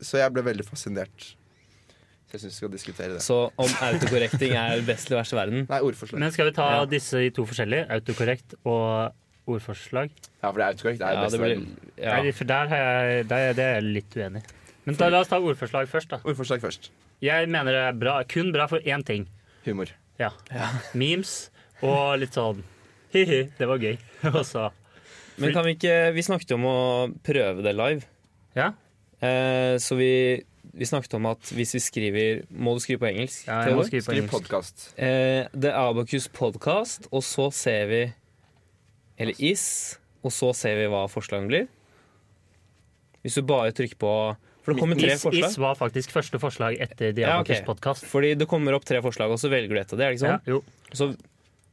[SPEAKER 3] så jeg ble veldig fascinert. Så jeg syns vi skal diskutere det.
[SPEAKER 4] Så om autokorrekting er best eller verst i verden
[SPEAKER 3] Nei, ordforslag.
[SPEAKER 2] Men skal vi ta
[SPEAKER 4] Ja.
[SPEAKER 2] disse i to forskjellige? Autokorrekt og ordforslag?
[SPEAKER 3] Ja, for det er autokorrekt. Det er
[SPEAKER 4] ja,
[SPEAKER 3] best
[SPEAKER 4] det
[SPEAKER 3] i
[SPEAKER 4] blir,
[SPEAKER 3] verden.
[SPEAKER 4] ja.
[SPEAKER 2] Nei, for der, har jeg, der er- det er jeg litt uenig i. Men da, la oss ta ordforslag først, da.
[SPEAKER 3] Ordforslag først.
[SPEAKER 2] Jeg mener det er bra, kun bra for én ting.
[SPEAKER 3] Humor.
[SPEAKER 2] Ja. Memes og litt sånn hi-hi, det var gøy. (laughs) Og så
[SPEAKER 4] Men kan vi ikke Vi snakket om å prøve det live.
[SPEAKER 2] Ja,
[SPEAKER 4] Eh, så vi, vi snakket om at hvis vi skriver Må du skrive på engelsk?
[SPEAKER 2] ja jeg må
[SPEAKER 4] Theodor?
[SPEAKER 2] skrive på
[SPEAKER 3] Skriv
[SPEAKER 2] engelsk.
[SPEAKER 3] podkast.
[SPEAKER 4] Eh, det er Abacus podcast, og så ser vi Eller is, og så ser vi hva forslagene blir. Hvis du bare trykker på For det kommer tre
[SPEAKER 2] Is,
[SPEAKER 4] forslag.
[SPEAKER 2] is var faktisk første forslag etter
[SPEAKER 4] Ja, ok.
[SPEAKER 2] Diabokus podkast.
[SPEAKER 4] Fordi det kommer opp tre forslag, og så velger du ett av det. Er det ikke
[SPEAKER 2] Ja,
[SPEAKER 4] sånn?
[SPEAKER 2] jo.
[SPEAKER 4] Så,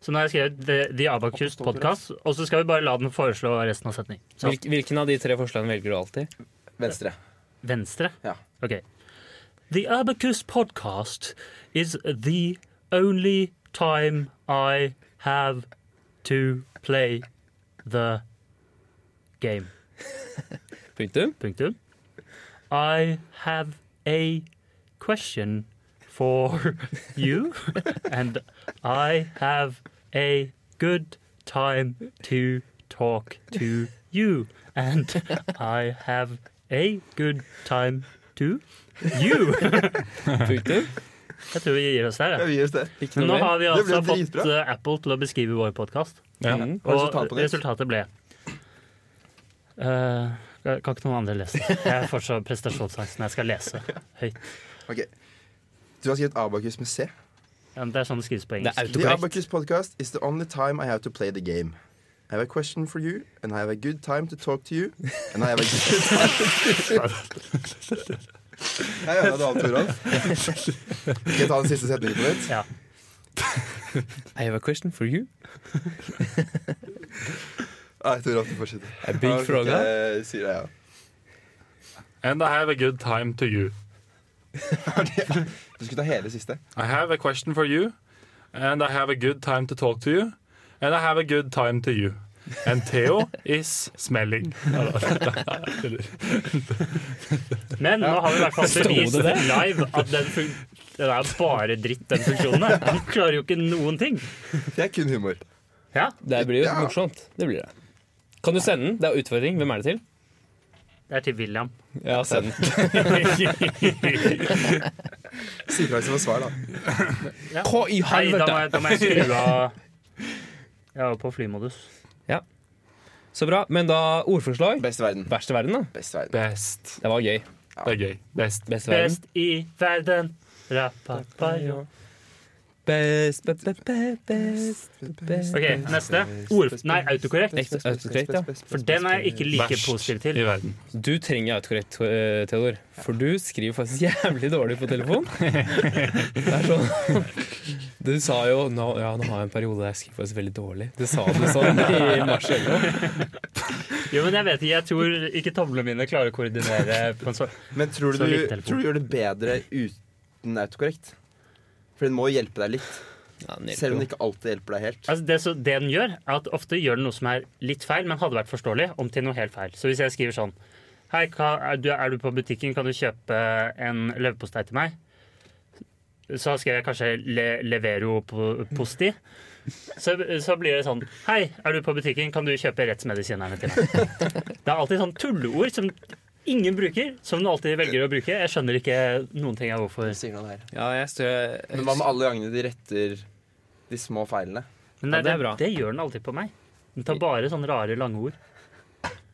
[SPEAKER 2] Så nå har jeg skrevet The- The Abacus podkast, og så skal vi bare la den foreslå resten av setningen. Så
[SPEAKER 4] hvilk- hvilken av de tre forslagene velger du alltid?
[SPEAKER 3] Venstre.
[SPEAKER 2] venstre.
[SPEAKER 3] Ja.
[SPEAKER 2] Okay. The Abacus podcast is the only time I have to play the game.
[SPEAKER 4] Punktum.
[SPEAKER 2] Punktum. I have a question for (laughs) you, and I have a good time to talk to you, and I have a good time to you.
[SPEAKER 4] Punktum.
[SPEAKER 2] Jeg tror vi gir oss der.
[SPEAKER 3] Ja,
[SPEAKER 2] Ja.
[SPEAKER 3] vi gir oss det.
[SPEAKER 4] Ikke
[SPEAKER 2] Men nå
[SPEAKER 4] noe mer.
[SPEAKER 2] har vi
[SPEAKER 3] Det ble
[SPEAKER 2] altså fått
[SPEAKER 3] dritbra.
[SPEAKER 2] eh, Apple til å beskrive vår podkast,
[SPEAKER 1] Ja.
[SPEAKER 4] Mm.
[SPEAKER 3] Og
[SPEAKER 2] og
[SPEAKER 3] resultatet på nytt.
[SPEAKER 2] resultatet ble Eh, Kan ikke noen andre lese? Jeg får så prestasjonsangst når jeg skal lese høyt.
[SPEAKER 3] Ok. Du har skrevet Abakus med C.
[SPEAKER 2] Ja, men det er sånn det skrives på
[SPEAKER 4] Det
[SPEAKER 2] engelsk.
[SPEAKER 4] er
[SPEAKER 3] The
[SPEAKER 4] autokorrekt.
[SPEAKER 3] Abacus podcast is the only time I have to play the game. I have a question for you, and I have a good time to talk to you. And I have a good time Jeg gjør det alt, Toralf. Skal jeg ta den siste setningen på nytt?
[SPEAKER 2] Ja.
[SPEAKER 4] I have a question for you.
[SPEAKER 3] Nei, jeg tror at du fortsetter.
[SPEAKER 4] A big
[SPEAKER 3] Ja,
[SPEAKER 4] frog, huh?
[SPEAKER 3] Jeg sier det, ja.
[SPEAKER 1] And I have a good time to you.
[SPEAKER 3] Du skulle ta hele siste.
[SPEAKER 1] I have a question for you. And I have a good time to talk to you. And I have a good time to you. And
[SPEAKER 4] (laughs)
[SPEAKER 1] Theo is smelling.
[SPEAKER 2] Men nå har vi i hvert fall bevist
[SPEAKER 4] det det?
[SPEAKER 2] live at den, fun den er bare dritt, den funksjonen. her. Den klarer jo ikke noen ting.
[SPEAKER 3] Det er kun humor.
[SPEAKER 2] Ja,
[SPEAKER 4] Det blir jo
[SPEAKER 3] Ja.
[SPEAKER 4] morsomt. Det blir det. Kan du sende den? Det er utfordring. Hvem er det til?
[SPEAKER 2] Det er til William.
[SPEAKER 4] (laughs) Ja, send den.
[SPEAKER 3] Si fra hvis det var svar, da.
[SPEAKER 4] Hva i
[SPEAKER 2] Hei, da må
[SPEAKER 4] helvete?
[SPEAKER 2] jeg, da må jeg skru av Jeg var på flymodus.
[SPEAKER 4] Så bra. Men da ordforslag.
[SPEAKER 3] Best i verden.
[SPEAKER 4] Verst i verden, da.
[SPEAKER 3] Best i verden.
[SPEAKER 1] Best.
[SPEAKER 4] Det var gøy.
[SPEAKER 1] Det er gøy. Best.
[SPEAKER 4] Best i verden.
[SPEAKER 2] Best i verden. Rapapayo.
[SPEAKER 4] Best, be, be, be, best, best.
[SPEAKER 2] OK, neste. Ord... Nei, autokorrekt.
[SPEAKER 4] Ekte autokorrekt, ja.
[SPEAKER 2] For den er jeg ikke like
[SPEAKER 1] Verst
[SPEAKER 2] positiv til.
[SPEAKER 1] i verden.
[SPEAKER 4] Du trenger autokorrekt, eh, Theodor. For du skriver faktisk (laughs) jævlig dårlig på (laughs) telefon. Det er sånn Du sa jo nå, ja, 'Nå har jeg en periode der jeg skriver faktisk veldig dårlig'. Det sa du sånn i mars eller noe.
[SPEAKER 2] Jo, men jeg vet ikke. Jeg tror ikke tavlene mine klarer å koordinere på en sånn
[SPEAKER 3] Men tror
[SPEAKER 2] Så
[SPEAKER 3] du,
[SPEAKER 2] litt
[SPEAKER 3] du,
[SPEAKER 2] telefon.
[SPEAKER 3] tror du gjør det bedre uten autokorrekt? For den må hjelpe deg litt,
[SPEAKER 4] Ja, den
[SPEAKER 3] selv om den
[SPEAKER 4] hjelper jo.
[SPEAKER 3] ikke alltid hjelper deg helt.
[SPEAKER 2] Altså det, så, det den gjør, er at ofte gjør den noe som er litt feil, men hadde vært forståelig, om til noe helt feil. Så hvis jeg skriver sånn Hei, hva, er, du, er du på butikken, kan du kjøpe en leverpostei til meg? Så skrev jeg kanskje le, 'levero po- posti'. Så, så blir det sånn Hei, er du på butikken, kan du kjøpe rettsmedisinerne til meg? Det er alltid sånn tulleord som ingen bruker, som du alltid velger å bruke. Jeg skjønner ikke noen ting av hvorfor.
[SPEAKER 4] ja, jeg står
[SPEAKER 3] Men hva med alle gangene de retter de små feilene?
[SPEAKER 2] Men
[SPEAKER 4] Ja,
[SPEAKER 2] det,
[SPEAKER 4] det er
[SPEAKER 2] det,
[SPEAKER 4] bra.
[SPEAKER 2] det gjør den alltid på meg. Den tar bare sånne rare, lange ord.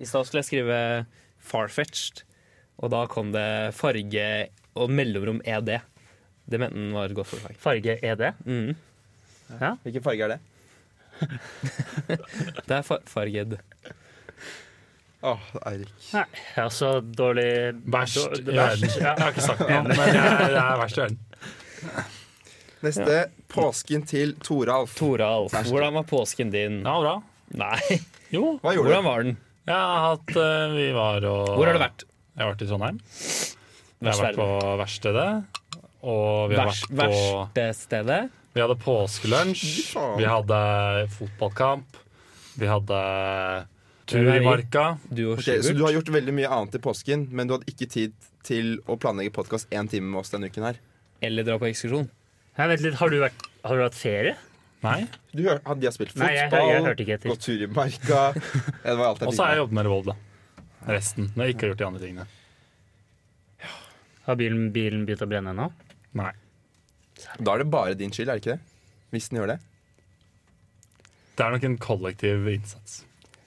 [SPEAKER 4] I stad skulle jeg skrive 'farfetched', og da kom det farge og mellomrom ED. Det mente den var et godt forslag.
[SPEAKER 2] Farge er det.
[SPEAKER 4] Mm.
[SPEAKER 3] Hvilken farge er det?
[SPEAKER 4] Det er fa farged.
[SPEAKER 3] Åh, Eirik.
[SPEAKER 2] Nei, jeg er så dårlig
[SPEAKER 1] Verst
[SPEAKER 2] dår-
[SPEAKER 1] i verden.
[SPEAKER 2] verst,
[SPEAKER 1] Jeg
[SPEAKER 2] ja.
[SPEAKER 1] har ikke sagt noe, men det er, det er verst i verden.
[SPEAKER 3] Neste. Påsken til Toralf.
[SPEAKER 4] Toralf, hvordan var påsken din?
[SPEAKER 1] Ja, bra.
[SPEAKER 4] Nei,
[SPEAKER 1] Jo,
[SPEAKER 3] Hva gjorde
[SPEAKER 4] hvordan
[SPEAKER 3] du?
[SPEAKER 4] var den?
[SPEAKER 1] jeg har hatt eh, Vi var og
[SPEAKER 4] Hvor har du vært?
[SPEAKER 1] Jeg har vært i Trondheim. Jeg har vært på verkstedet. Og vi har
[SPEAKER 4] Vers,
[SPEAKER 1] vært på
[SPEAKER 4] verste stedet?
[SPEAKER 1] Vi hadde påskelunsj,
[SPEAKER 3] Fy faen.
[SPEAKER 1] vi hadde fotballkamp, vi hadde tur
[SPEAKER 4] Det
[SPEAKER 1] i
[SPEAKER 4] er vi.
[SPEAKER 1] marka.
[SPEAKER 4] Du og
[SPEAKER 3] Ok, så du
[SPEAKER 4] Sivert?
[SPEAKER 3] har gjort veldig mye annet i påsken, men du hadde ikke tid til å planlegge podkast én time med oss denne uken her.
[SPEAKER 4] Eller dra på ekskursjon?
[SPEAKER 2] Nei, vent litt, har du, vært, har du hatt ferie?
[SPEAKER 1] Nei.
[SPEAKER 3] Du hør, hadde de har spilt
[SPEAKER 2] Nei, jeg- jeg
[SPEAKER 3] fotball,
[SPEAKER 2] hørte ikke etter.
[SPEAKER 3] gått tur i marka
[SPEAKER 2] (laughs)
[SPEAKER 3] ja, Det var alt jeg
[SPEAKER 1] Og så har jeg
[SPEAKER 3] fikk med.
[SPEAKER 1] jobbet med revolver. Resten. Når jeg ikke har gjort de andre tingene.
[SPEAKER 2] Har bilen, bilen begynt å brenne nå?
[SPEAKER 1] Nei.
[SPEAKER 3] Da er det bare din skyld, er det ikke det? Hvis den gjør det.
[SPEAKER 1] Det er nok en kollektiv innsats.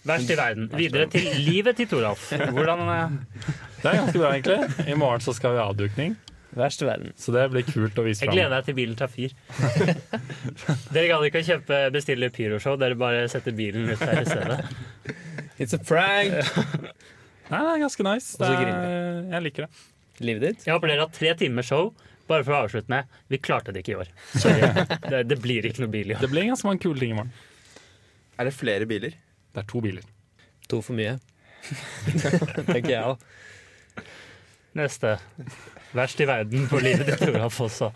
[SPEAKER 2] Verst i verden. Videre til livet til Toralf. Hvordan eh,
[SPEAKER 1] Det er ganske bra, egentlig. I morgen så skal vi ha avdukning,
[SPEAKER 4] Verste verden.
[SPEAKER 1] så det blir kult å vise
[SPEAKER 2] Jeg
[SPEAKER 1] fram.
[SPEAKER 2] gleder meg til bilen tar
[SPEAKER 1] (laughs)
[SPEAKER 2] fyr. Dere gadd ikke å kjøpe, bestille pyroshow, dere bare setter bilen ut her i stedet.
[SPEAKER 4] It's a prank!
[SPEAKER 1] Nei, det er ganske nice.
[SPEAKER 4] Og
[SPEAKER 1] Det
[SPEAKER 4] så
[SPEAKER 1] er,
[SPEAKER 4] griner
[SPEAKER 1] jeg liker det.
[SPEAKER 4] Livet ditt?
[SPEAKER 2] Jeg håper dere har tre timer show. Bare for å avslutte med vi klarte det ikke i år. Sorry. Det, det blir ikke noe bil i år.
[SPEAKER 1] Det blir ganske mange kule ting i morgen.
[SPEAKER 3] Er det flere biler?
[SPEAKER 1] Det er to biler.
[SPEAKER 4] To for
[SPEAKER 1] (laughs)
[SPEAKER 4] mye. Tenker jeg òg.
[SPEAKER 2] Neste. Verst i verden på livet til Toralf også.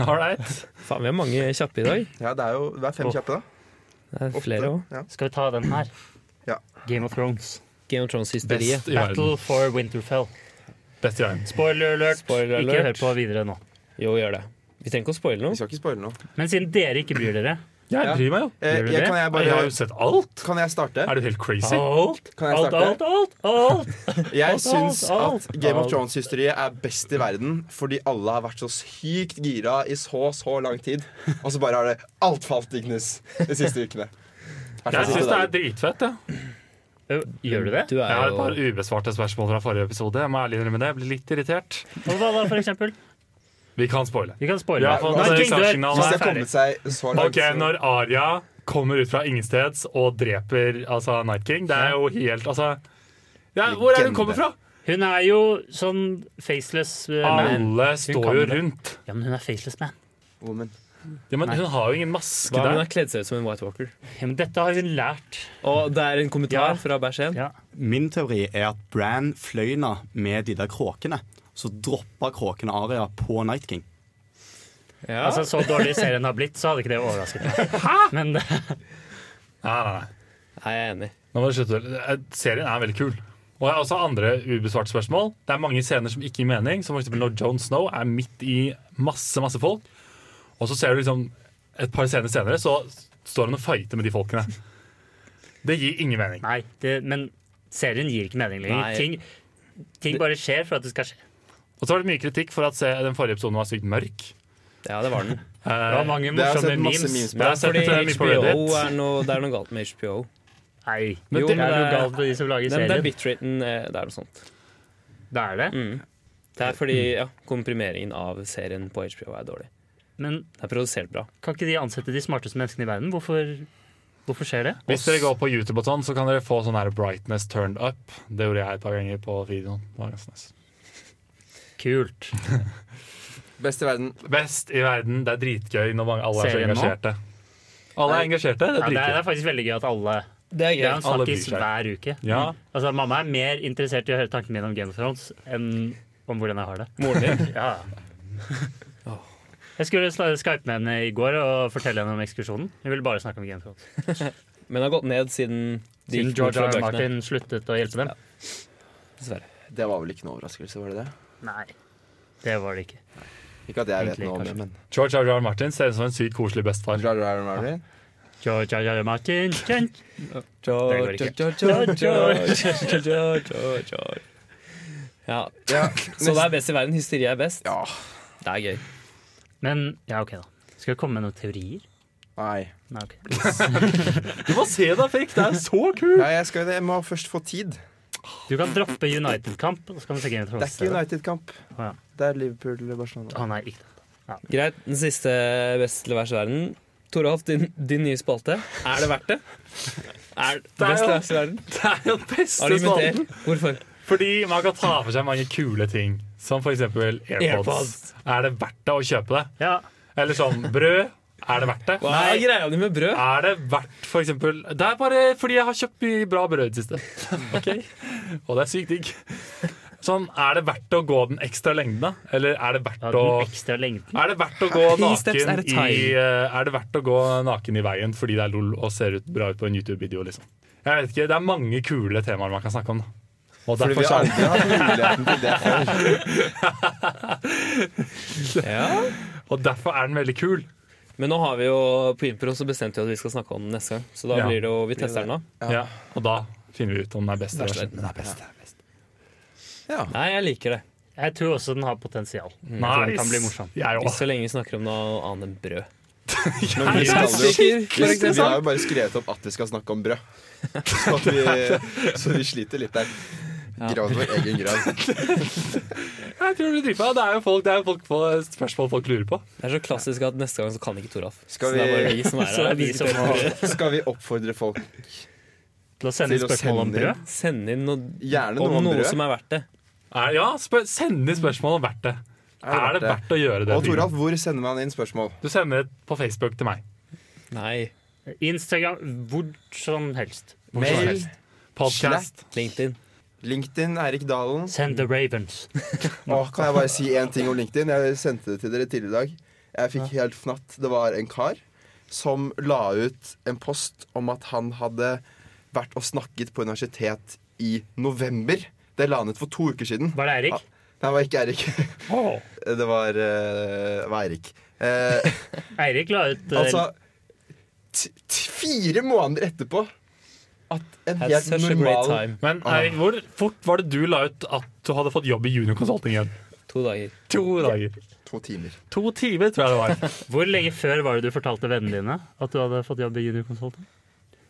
[SPEAKER 1] All right.
[SPEAKER 4] Faen, vi har mange kjappe i dag.
[SPEAKER 3] Ja, det er jo det er fem
[SPEAKER 2] Åh.
[SPEAKER 3] kjappe, da.
[SPEAKER 4] Det er flere òg.
[SPEAKER 3] Ja.
[SPEAKER 2] Skal vi ta den her?
[SPEAKER 3] Ja.
[SPEAKER 2] Game of Thrones.
[SPEAKER 4] Game of Thrones-hysteriet.
[SPEAKER 1] Best i verden.
[SPEAKER 2] Battle for Winterfell.
[SPEAKER 1] Best i verden.
[SPEAKER 2] Spoiler alert.
[SPEAKER 4] Spoiler
[SPEAKER 2] Ikke
[SPEAKER 4] alert.
[SPEAKER 2] hør på videre nå.
[SPEAKER 4] Jo, gjør det. Vi trenger ikke å spoile
[SPEAKER 3] Vi
[SPEAKER 4] noe.
[SPEAKER 3] skal ikke spoile noe.
[SPEAKER 2] Men siden dere ikke bryr
[SPEAKER 3] (laughs)
[SPEAKER 2] dere
[SPEAKER 1] Jeg
[SPEAKER 3] Ja.
[SPEAKER 1] bryr meg jo.
[SPEAKER 3] Eh,
[SPEAKER 2] Gjør du
[SPEAKER 3] jeg,
[SPEAKER 2] det?
[SPEAKER 3] kan, jeg
[SPEAKER 1] Jeg
[SPEAKER 3] bare,
[SPEAKER 1] har jo sett alt.
[SPEAKER 3] kan jeg starte?
[SPEAKER 1] Er du helt crazy?
[SPEAKER 2] Alt,
[SPEAKER 3] Kan jeg
[SPEAKER 2] alt, alt,
[SPEAKER 3] starte?
[SPEAKER 2] alt, alt.
[SPEAKER 3] (laughs) Jeg
[SPEAKER 2] alt,
[SPEAKER 3] syns
[SPEAKER 2] alt,
[SPEAKER 3] at Game of
[SPEAKER 2] alt.
[SPEAKER 3] Thrones-hysteriet er best i verden fordi alle har vært så sykt gira i så så lang tid, og så bare har det alt falt i knus de siste ukene. Hvert fall
[SPEAKER 1] Jeg syns det
[SPEAKER 3] siste
[SPEAKER 1] er
[SPEAKER 3] dagen.
[SPEAKER 1] dritfett, jeg. Ja.
[SPEAKER 2] Ø, Gjør du det?
[SPEAKER 4] Du
[SPEAKER 1] Jeg
[SPEAKER 4] er
[SPEAKER 1] har et par
[SPEAKER 4] jo
[SPEAKER 1] ubesvarte spørsmål fra forrige episode. Jeg må ærlig innrømme det. Jeg blir litt irritert.
[SPEAKER 2] Og hva da, for eksempel?
[SPEAKER 1] Vi kan spoile.
[SPEAKER 2] Vi kan spoile.
[SPEAKER 1] Ja,
[SPEAKER 2] Nei,
[SPEAKER 1] altså,
[SPEAKER 2] King, du er-
[SPEAKER 1] klarsignal
[SPEAKER 2] du
[SPEAKER 1] er
[SPEAKER 3] Hvis
[SPEAKER 2] er
[SPEAKER 3] det har
[SPEAKER 2] ferdig.
[SPEAKER 3] kommet seg så langt
[SPEAKER 1] Ok, Når Arya kommer ut fra ingensteds og dreper altså, Night King, det er jo helt altså ja, Hvor er det hun kommer fra?
[SPEAKER 2] Hun er jo sånn faceless eh, man.
[SPEAKER 1] Alle
[SPEAKER 2] Hun
[SPEAKER 1] står
[SPEAKER 2] kan
[SPEAKER 1] jo
[SPEAKER 2] det.
[SPEAKER 1] rundt.
[SPEAKER 2] Ja, men hun er faceless man.
[SPEAKER 3] Woman.
[SPEAKER 1] Ja, men
[SPEAKER 2] Nei.
[SPEAKER 1] hun har jo ingen maske
[SPEAKER 4] Hva om hun
[SPEAKER 1] der.
[SPEAKER 4] har kledd seg ut som en White Walker?
[SPEAKER 2] Ja, men dette har hun lært.
[SPEAKER 4] Og det er en
[SPEAKER 2] Ja.
[SPEAKER 4] kommentar fra Bæsjen.
[SPEAKER 2] Ja.
[SPEAKER 5] Min teori er at Bran fløyna med de der kråkene. Så droppa kråkene Aria på Night King.
[SPEAKER 4] Ja.
[SPEAKER 2] Altså, så dårlig serien har blitt, så hadde ikke det overrasket meg. Men det,
[SPEAKER 1] Nei, nei, nei.
[SPEAKER 4] Nei, jeg er enig.
[SPEAKER 1] Nå må du slutte. Eh, Serien er veldig kul. Og jeg har også andre ubesvarte spørsmål. Det er mange scener som ikke gir mening, som for eksempel når Jon Snow er midt i masse, masse folk. Og så ser du liksom et par scener senere, så står han og fighter med de folkene. Det gir ingen mening.
[SPEAKER 2] nei, det, men serien gir ikke mening
[SPEAKER 4] Nei.
[SPEAKER 2] lenger. Ting, ting bare skjer for at det skal skje.
[SPEAKER 1] Og så var det mye kritikk for at se, den forrige episoden var sykt mørk.
[SPEAKER 4] Ja, det var den.
[SPEAKER 1] Eh,
[SPEAKER 4] altså,
[SPEAKER 2] Det var mange
[SPEAKER 3] Det har jeg
[SPEAKER 2] morsomme
[SPEAKER 3] sett
[SPEAKER 2] memes.
[SPEAKER 3] masse memes på.
[SPEAKER 1] Men jeg har sett,
[SPEAKER 4] Fordi
[SPEAKER 1] eh, mye på
[SPEAKER 4] HBO
[SPEAKER 1] Reddit.
[SPEAKER 4] er noe, det er noe galt med HBO.
[SPEAKER 2] Nei,
[SPEAKER 4] Men
[SPEAKER 2] jo,
[SPEAKER 4] det-
[SPEAKER 2] men det er noe galt med de som lager
[SPEAKER 4] Den, det er
[SPEAKER 2] serien.
[SPEAKER 4] bitraten, eh, det er noe sånt.
[SPEAKER 2] Det er det.
[SPEAKER 4] Mm. Det er fordi ja, komprimeringen av serien på HBO er dårlig.
[SPEAKER 2] Men
[SPEAKER 4] Det er produsert bra.
[SPEAKER 2] kan ikke de ansette de smarteste menneskene i verden? Hvorfor, hvorfor skjer det?
[SPEAKER 1] Hvis dere går på YouTube, og sånn, så kan dere få sånn her brightness turned up. Det gjorde jeg et par ganger på videoen. Det var ganske nice.
[SPEAKER 4] (laughs)
[SPEAKER 2] Kult.
[SPEAKER 3] Best i verden.
[SPEAKER 1] Best i verden. Det er dritgøy når mange, alle er så
[SPEAKER 2] Serien nå?
[SPEAKER 1] engasjerte. Alle er engasjerte. Det er
[SPEAKER 2] Ja, det, er, det
[SPEAKER 1] dritgøy.
[SPEAKER 2] er faktisk veldig gøy at alle
[SPEAKER 4] Det
[SPEAKER 2] Det er en
[SPEAKER 1] Alle bryr
[SPEAKER 2] snakkis
[SPEAKER 1] seg.
[SPEAKER 2] hver uke.
[SPEAKER 1] Ja.
[SPEAKER 2] Altså, Mamma er mer interessert i å høre tankene mine om Game of Thrones enn om hvordan jeg har det.
[SPEAKER 4] Moren
[SPEAKER 2] (laughs)
[SPEAKER 4] din.
[SPEAKER 2] Ja.
[SPEAKER 4] (laughs)
[SPEAKER 2] Jeg skulle sla- skype med henne i går og fortelle henne om ekskursjonen. Hun ville bare snakke om Game of Thrones.
[SPEAKER 4] Men det har gått ned siden de
[SPEAKER 2] Siden
[SPEAKER 4] gikk
[SPEAKER 2] George
[SPEAKER 4] bort fra
[SPEAKER 2] R. R.
[SPEAKER 4] bøkene,
[SPEAKER 2] Martin sluttet å hjelpe dem.
[SPEAKER 4] Dessverre.
[SPEAKER 3] Det var vel ikke noen overraskelse, var det det?
[SPEAKER 2] Nei, det var det ikke.
[SPEAKER 3] Ikke at jeg vet
[SPEAKER 2] Egentlig,
[SPEAKER 3] noe om det,
[SPEAKER 2] kanskje.
[SPEAKER 3] men
[SPEAKER 1] George R. R. Martin ser ut som en sykt koselig bestefar.
[SPEAKER 3] Jar Jar Martin?
[SPEAKER 2] George R. R. Martin kjent.
[SPEAKER 4] George,
[SPEAKER 2] Det
[SPEAKER 4] George,
[SPEAKER 2] George,
[SPEAKER 4] (laughs) George, George, George, George. Ja,
[SPEAKER 3] Ja.
[SPEAKER 4] Så det er best i verden. Hysteri er best.
[SPEAKER 3] ja.
[SPEAKER 4] Det er gøy.
[SPEAKER 2] Men ja, OK, da. Skal jeg komme med noen teorier?
[SPEAKER 3] Nei.
[SPEAKER 2] Nei, ok.
[SPEAKER 1] (laughs) Du må se deg fikk! Det er så kult!
[SPEAKER 3] Ja, jeg, skal, jeg må først få tid.
[SPEAKER 2] Du kan droppe United-kamp, og så kan vi se Game of
[SPEAKER 3] Det er ikke
[SPEAKER 2] Thrones.
[SPEAKER 3] United-kamp.
[SPEAKER 2] Å ja.
[SPEAKER 3] Det er Liverpool-Barcelona.
[SPEAKER 2] Å nei, ikke det.
[SPEAKER 4] Greit, den siste best til verste i verden. Toralf, din, din nye spalte. Er det verdt det? (laughs) Er det best til verste i verden?
[SPEAKER 1] Det er jo den beste
[SPEAKER 4] Argumenter.
[SPEAKER 1] spalten!
[SPEAKER 4] Hvorfor?
[SPEAKER 1] Fordi man kan ta for seg mange kule ting, som for eksempel AirPods.
[SPEAKER 4] AirPods.
[SPEAKER 1] Er det verdt det å kjøpe det?
[SPEAKER 2] Ja.
[SPEAKER 1] Eller sånn brød. Er det verdt det?
[SPEAKER 4] Hva er greia di med brød?
[SPEAKER 1] Er det verdt for eksempel Det er bare fordi jeg har kjøpt mye bra brød i det
[SPEAKER 4] (laughs)
[SPEAKER 1] siste. Ok? Og det er sykt digg. Sånn, Er det verdt å gå den ekstra lengden, da? Eller er det verdt
[SPEAKER 2] ja
[SPEAKER 1] å
[SPEAKER 2] den ekstra lengden.
[SPEAKER 1] er det verdt å gå
[SPEAKER 4] Three steps
[SPEAKER 1] naken
[SPEAKER 4] at
[SPEAKER 1] i
[SPEAKER 4] a time.
[SPEAKER 1] eh, Er det verdt å gå naken i veien fordi det er lol og ser ut bra ut på en YouTube-video? liksom Jeg vet ikke, Det er mange kule temaer man kan snakke om. da. Og
[SPEAKER 3] Fordi
[SPEAKER 1] derfor
[SPEAKER 3] vi
[SPEAKER 1] så er det-
[SPEAKER 3] aldri har hatt muligheten til det før.
[SPEAKER 4] Ja.
[SPEAKER 1] og derfor er den veldig kul.
[SPEAKER 4] Men nå har vi jo på Impro så bestemt vi at vi skal snakke om den neste gang. Så da
[SPEAKER 1] Ja.
[SPEAKER 4] blir det jo Vi tester den da.
[SPEAKER 1] Ja. Og da finner vi ut om den er best. eller verst.
[SPEAKER 3] Det er best. Ja.
[SPEAKER 4] Nei, jeg liker det.
[SPEAKER 2] Jeg tror også den har potensial.
[SPEAKER 1] Mm.
[SPEAKER 2] Jeg tror den kan bli
[SPEAKER 1] Nice!
[SPEAKER 2] morsom.
[SPEAKER 1] Jeg òg.
[SPEAKER 4] Hvis så lenge vi snakker om noe annet enn brød.
[SPEAKER 3] Men vi, skal jo,
[SPEAKER 4] Klassiker, for
[SPEAKER 3] vi, vi
[SPEAKER 4] eksempel.
[SPEAKER 3] har jo bare skrevet opp at vi skal snakke om brød. Så vi, så vi sliter litt der. Grav vår egen
[SPEAKER 1] (laughs)
[SPEAKER 3] grav.
[SPEAKER 1] Jeg tror du driver Det er jo folk, det er jo folk på spørsmål folk lurer på.
[SPEAKER 4] Det er så klassisk at neste gang så kan ikke Toralf.
[SPEAKER 3] Skal
[SPEAKER 4] Så det er
[SPEAKER 3] vi-
[SPEAKER 4] bare vi som er
[SPEAKER 2] Så
[SPEAKER 4] her.
[SPEAKER 2] er vi som må
[SPEAKER 3] Skal vi oppfordre folk
[SPEAKER 2] til å sende
[SPEAKER 3] Til å
[SPEAKER 2] spørsmål om
[SPEAKER 3] sende inn.
[SPEAKER 2] brød.
[SPEAKER 4] Send inn noe
[SPEAKER 3] gjerne noe
[SPEAKER 4] om
[SPEAKER 3] om
[SPEAKER 4] noe
[SPEAKER 3] brød?
[SPEAKER 4] som er verdt det.
[SPEAKER 1] Er, ja, spør, send inn spørsmål om verdt det. Er det, verdt, å gjøre det?
[SPEAKER 3] Og Toralf, hvor sender man inn spørsmål?
[SPEAKER 1] Du sender det på Facebook til meg.
[SPEAKER 4] Nei.
[SPEAKER 2] Instagram, hvor som helst.
[SPEAKER 1] Hvor som helst. Podcast.
[SPEAKER 4] LinkedIn.
[SPEAKER 3] LinkedIn, Eirik Dalen.
[SPEAKER 2] Send the Ravens.
[SPEAKER 3] Åh, kan jeg bare si én ting om LinkedIn? Jeg sendte det til dere tidligere i dag. Jeg fikk helt fnatt. Det var en kar som la ut en post om at han hadde vært og snakket på universitet i november. Det la han ut for to uker siden.
[SPEAKER 2] Var det Eirik?
[SPEAKER 3] Nei, det var ikke Eirik.
[SPEAKER 1] Åh.
[SPEAKER 3] Det var, eh, det var Eirik. Eh,
[SPEAKER 2] Eirik la ut eh,
[SPEAKER 3] altså t t Fire måneder etterpå at en
[SPEAKER 4] Had
[SPEAKER 3] helt
[SPEAKER 4] such a great
[SPEAKER 3] normal
[SPEAKER 4] time.
[SPEAKER 1] Men Eirik, hvor fort var det du la ut at du hadde fått jobb i Junior Consulting igjen?
[SPEAKER 4] To dager.
[SPEAKER 1] To dager.
[SPEAKER 3] To timer.
[SPEAKER 1] To timer, tror jeg det var.
[SPEAKER 2] Hvor lenge før var det du fortalte vennene dine at du hadde fått jobb i Junior Consultant?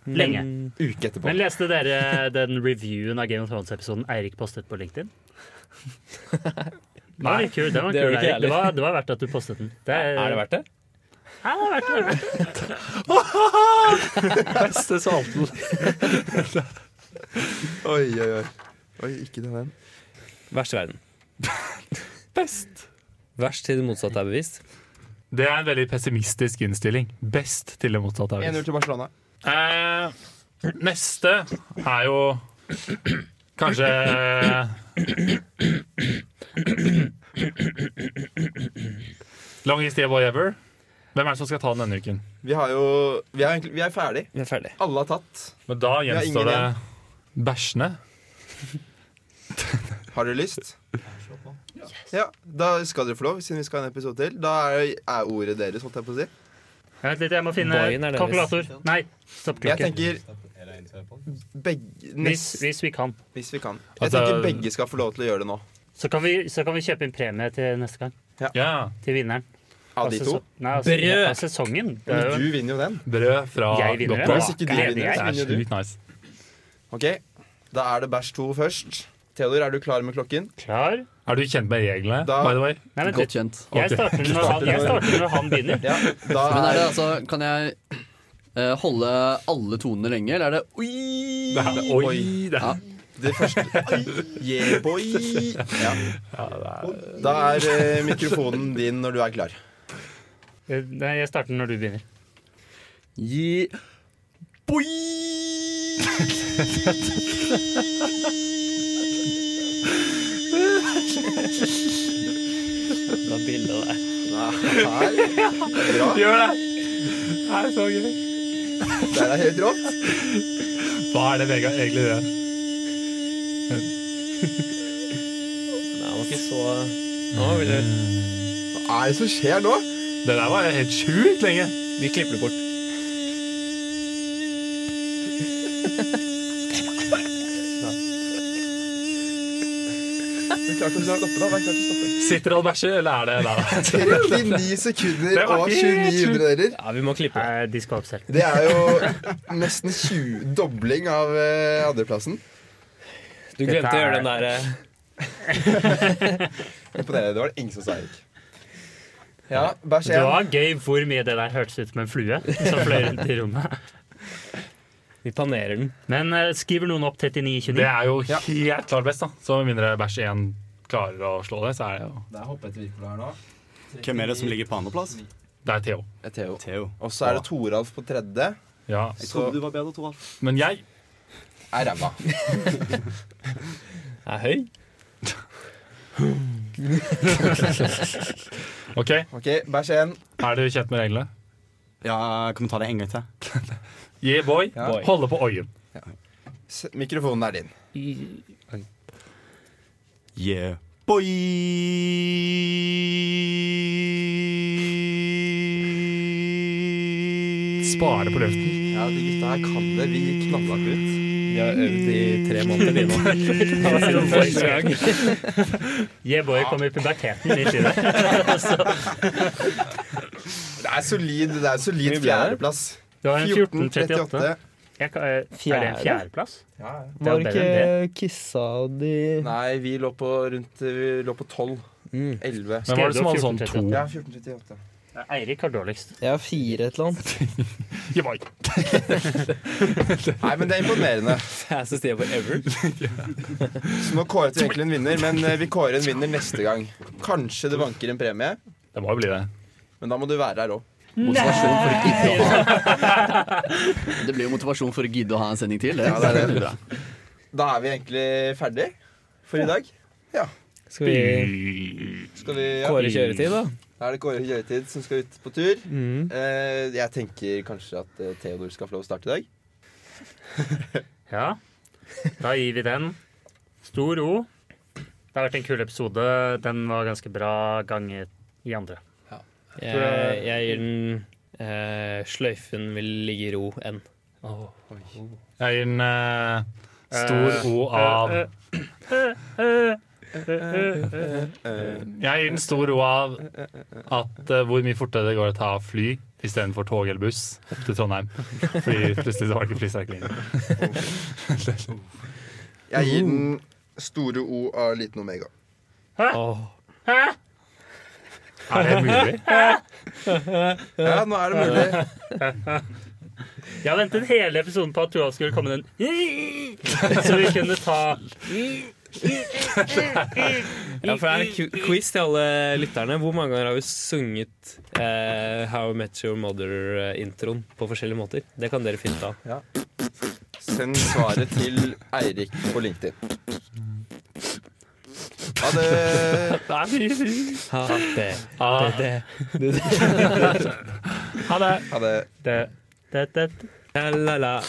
[SPEAKER 1] Mm.
[SPEAKER 2] Lenge.
[SPEAKER 4] Men-
[SPEAKER 3] Uke etterpå.
[SPEAKER 2] Men leste dere den reviewen av Game of Thrones-episoden Eirik postet på LinkedIn? Den var litt kul. Den var
[SPEAKER 4] Det
[SPEAKER 2] kul
[SPEAKER 4] gjorde ikke jeg
[SPEAKER 2] Eirik. det, var, det var verdt at du postet den. Det
[SPEAKER 4] Er det verdt det?
[SPEAKER 2] Ja, det er verdt det.
[SPEAKER 1] Beste salten.
[SPEAKER 3] Oi, oi, oi. Oi, ikke den den.
[SPEAKER 4] Verst i verden.
[SPEAKER 1] Best.
[SPEAKER 4] Verst til det motsatte er bevist.
[SPEAKER 1] Det er en veldig pessimistisk innstilling. Best til det motsatte. er
[SPEAKER 3] 1-0
[SPEAKER 1] det.
[SPEAKER 3] til Barcelona.
[SPEAKER 1] Eh, neste er jo kanskje eh, Longest day ever. Hvem er det som skal ta den denne uken?
[SPEAKER 3] Vi har jo Vi er, egentlig, vi er ferdig.
[SPEAKER 4] Vi er ferdig.
[SPEAKER 3] Alle har tatt.
[SPEAKER 1] Men da
[SPEAKER 3] har ingen
[SPEAKER 1] gjenstår det bæsjene.
[SPEAKER 3] Har dere lyst? Ja, Da skal dere få lov, siden vi skal ha en episode til. Da er, er ordet deres, holdt jeg på å si.
[SPEAKER 2] Vent litt, jeg må finne
[SPEAKER 4] Dagen er deres.
[SPEAKER 2] kalkulator. Nei,
[SPEAKER 3] Jeg
[SPEAKER 2] stoppeklokke.
[SPEAKER 3] tenker begge,
[SPEAKER 2] Hvis,
[SPEAKER 3] nest,
[SPEAKER 2] hvis vi kan.
[SPEAKER 3] hvis vi kan. Jeg
[SPEAKER 1] Altså-
[SPEAKER 3] tenker begge skal få lov til å gjøre det nå.
[SPEAKER 2] Så kan, vi, så kan vi kjøpe inn premie til neste gang.
[SPEAKER 1] Ja,
[SPEAKER 2] Til vinneren.
[SPEAKER 3] Av de
[SPEAKER 2] Altså,
[SPEAKER 3] to.
[SPEAKER 2] så- Nei, altså,
[SPEAKER 4] Brød!
[SPEAKER 2] Av sesongen. Det er
[SPEAKER 3] Men
[SPEAKER 2] jo,
[SPEAKER 3] du vinner jo den.
[SPEAKER 1] Brød fra
[SPEAKER 2] jeg vinner.
[SPEAKER 1] Gotland.
[SPEAKER 3] Hvis ikke du
[SPEAKER 2] Leder
[SPEAKER 3] vinner,
[SPEAKER 1] Det
[SPEAKER 2] jeg.
[SPEAKER 1] er
[SPEAKER 3] vinner du.
[SPEAKER 1] sjukt nice.
[SPEAKER 3] Ok, Da er det bæsj to først. Theodor, er du klar med klokken?
[SPEAKER 2] Klar?
[SPEAKER 1] Er du kjent med reglene,
[SPEAKER 3] Da-
[SPEAKER 1] by the way?
[SPEAKER 2] Nei, vent litt.
[SPEAKER 6] Godt kjent.
[SPEAKER 2] Jeg
[SPEAKER 1] Ok.
[SPEAKER 2] starter når han, jeg starter når han begynner.
[SPEAKER 3] Ja, da
[SPEAKER 6] Men er
[SPEAKER 3] er
[SPEAKER 6] det altså Kan jeg eh, holde alle tonene lenge, eller er det oi?
[SPEAKER 1] Det er, oi, det er,
[SPEAKER 3] det første Yeah, boy! Ja. Da er eh, mikrofonen din når du er klar.
[SPEAKER 2] Nei, jeg starter når du begynner.
[SPEAKER 6] Gi Boi!
[SPEAKER 4] Da bildet der.
[SPEAKER 3] Her. Bra.
[SPEAKER 1] Gjør det! Det er så gøy.
[SPEAKER 3] Det er helt rått.
[SPEAKER 1] Hva er det Vegard egentlig gjør?
[SPEAKER 4] Nei, han var ikke så Nå vil du
[SPEAKER 3] Hva er det som skjer nå?
[SPEAKER 1] (laughs) Det der var helt sjukt lenge.
[SPEAKER 4] Vi klipper det bort.
[SPEAKER 3] Du klarte å stoppe, da. Vær klar til å stoppe.
[SPEAKER 1] Sitter han og bæsjer, eller er det der?
[SPEAKER 3] 39 sekunder
[SPEAKER 1] Det var
[SPEAKER 3] og
[SPEAKER 1] helt
[SPEAKER 3] 29
[SPEAKER 1] sjukt.
[SPEAKER 3] hundreder.
[SPEAKER 4] Ja, vi må klippe det.
[SPEAKER 2] Eh, De skal opp selv.
[SPEAKER 3] Det er jo nesten 20 dobling av eh, andreplassen.
[SPEAKER 4] Du glemte
[SPEAKER 2] Dette
[SPEAKER 4] å
[SPEAKER 2] er-
[SPEAKER 4] gjøre den der eh,
[SPEAKER 3] Imponerende. Det var det ingen som sa ikke. Ja, bæsj
[SPEAKER 2] Det
[SPEAKER 3] 1.
[SPEAKER 2] var gøy hvor mye det der hørtes ut som en flue som fløy rundt i rommet.
[SPEAKER 4] Vi panerer den.
[SPEAKER 2] Men eh, skriver noen opp 39
[SPEAKER 1] Det
[SPEAKER 2] 29?
[SPEAKER 1] er jo helt klart best, da. Så med mindre bæsj 1 klarer å slå det, så er det jo
[SPEAKER 3] Der hoppet Wirkola her nå.
[SPEAKER 5] Hvem er det som ligger på andreplass?
[SPEAKER 1] Det er Theo.
[SPEAKER 3] Theo.
[SPEAKER 5] Theo.
[SPEAKER 3] Og så er det Toralf på tredje.
[SPEAKER 1] Ja.
[SPEAKER 5] Jeg
[SPEAKER 3] Så
[SPEAKER 5] trodde du var bedre, Toralf.
[SPEAKER 1] Men jeg
[SPEAKER 3] er ræva.
[SPEAKER 4] Er høy.
[SPEAKER 1] OK,
[SPEAKER 3] Ok, bæsj én.
[SPEAKER 1] er du kjent med reglene?
[SPEAKER 5] Ja, jeg kommer ta det en gang til.
[SPEAKER 1] Yeah, boy.
[SPEAKER 3] Ja.
[SPEAKER 4] Boy.
[SPEAKER 1] Holde på øyen.
[SPEAKER 3] S- Mikrofonen er din.
[SPEAKER 5] Yeah. Boy!
[SPEAKER 1] Spare på luften.
[SPEAKER 3] Ja, de gutta her kan det. Vi knalla ut.
[SPEAKER 4] Vi har øvd i (laughs) tre måneder de nå.
[SPEAKER 2] Første gang. Yeah, boy kom i puberteten litt i det.
[SPEAKER 3] Det er solid, det er solid
[SPEAKER 4] Mye ble det?
[SPEAKER 3] fjerdeplass.
[SPEAKER 2] Det var en 1438.
[SPEAKER 3] 14.38.
[SPEAKER 2] Jeg, kan- eh, er det en fjerdeplass?
[SPEAKER 3] Ja, ja.
[SPEAKER 2] Det er jo bedre enn det.
[SPEAKER 4] Kissa de
[SPEAKER 3] Nei, vi lå på rundt Vi lå på 12.
[SPEAKER 4] Mm.
[SPEAKER 3] 11.
[SPEAKER 1] Hvem var det som hadde sånn
[SPEAKER 2] Skrevet
[SPEAKER 1] to?
[SPEAKER 3] Ja, 1438.
[SPEAKER 2] Eirik har dårligst.
[SPEAKER 4] Jeg har fire et eller annet.
[SPEAKER 1] Yeah, boy.
[SPEAKER 3] Nei, men det er imponerende.
[SPEAKER 4] Fastest day ever.
[SPEAKER 3] Så nå kåret vi egentlig en vinner, men eh, vi kårer en vinner neste gang. Kanskje det banker en premie,
[SPEAKER 1] Det må jo bli det.
[SPEAKER 3] men da må du være her òg.
[SPEAKER 6] Motivasjon for å gidde å ha Det blir jo motivasjon for å (laughs) gidde å ha en sending til. Det.
[SPEAKER 3] Ja, det er det.
[SPEAKER 6] Veldig bra.
[SPEAKER 3] Da er vi egentlig ferdig for i dag.
[SPEAKER 4] Skal vi
[SPEAKER 3] Skal vi, ja.
[SPEAKER 4] kåre kjøretid, da?
[SPEAKER 3] Da er det Kåre Kjøretid som skal ut på tur.
[SPEAKER 4] Mm.
[SPEAKER 3] Eh, jeg tenker kanskje at eh, Theodor skal få lov å starte i dag.
[SPEAKER 2] Ja, da gir vi den stor O. Det har vært en kul episode. Den var ganske bra ganget i andre.
[SPEAKER 4] Jeg, jeg gir den eh, Sløyfen vil ligge i ro enn.
[SPEAKER 1] Jeg gir den eh, stor O
[SPEAKER 2] Eh,
[SPEAKER 1] av Jeg gir den stor ro av at eh, hvor mye fortere det går å ta fly istedenfor tog eller buss opp til Trondheim. Fordi plutselig så var det ikke flystrekninger.
[SPEAKER 2] (laughs)
[SPEAKER 3] Jeg gir den
[SPEAKER 4] Uh.
[SPEAKER 3] store O av liten omega.
[SPEAKER 4] Åh.
[SPEAKER 1] Er det mulig?
[SPEAKER 3] Ja, nå er det mulig.
[SPEAKER 2] Jeg har (laughs) ventet hele episoden på at Tuva skulle komme den Så vi kunne ta
[SPEAKER 4] Ja, for det er en ku- quiz til alle lytterne. Hvor mange ganger har vi sunget eh, How I Met Your Mother-introen på forskjellige måter? Det kan dere finne ut av.
[SPEAKER 3] Send svaret til Eirik på LinkedIn. Ja, det
[SPEAKER 4] Ha det. Ha det.
[SPEAKER 2] Ha det.
[SPEAKER 3] Ha det.
[SPEAKER 2] det, det, det.
[SPEAKER 4] La, la, la.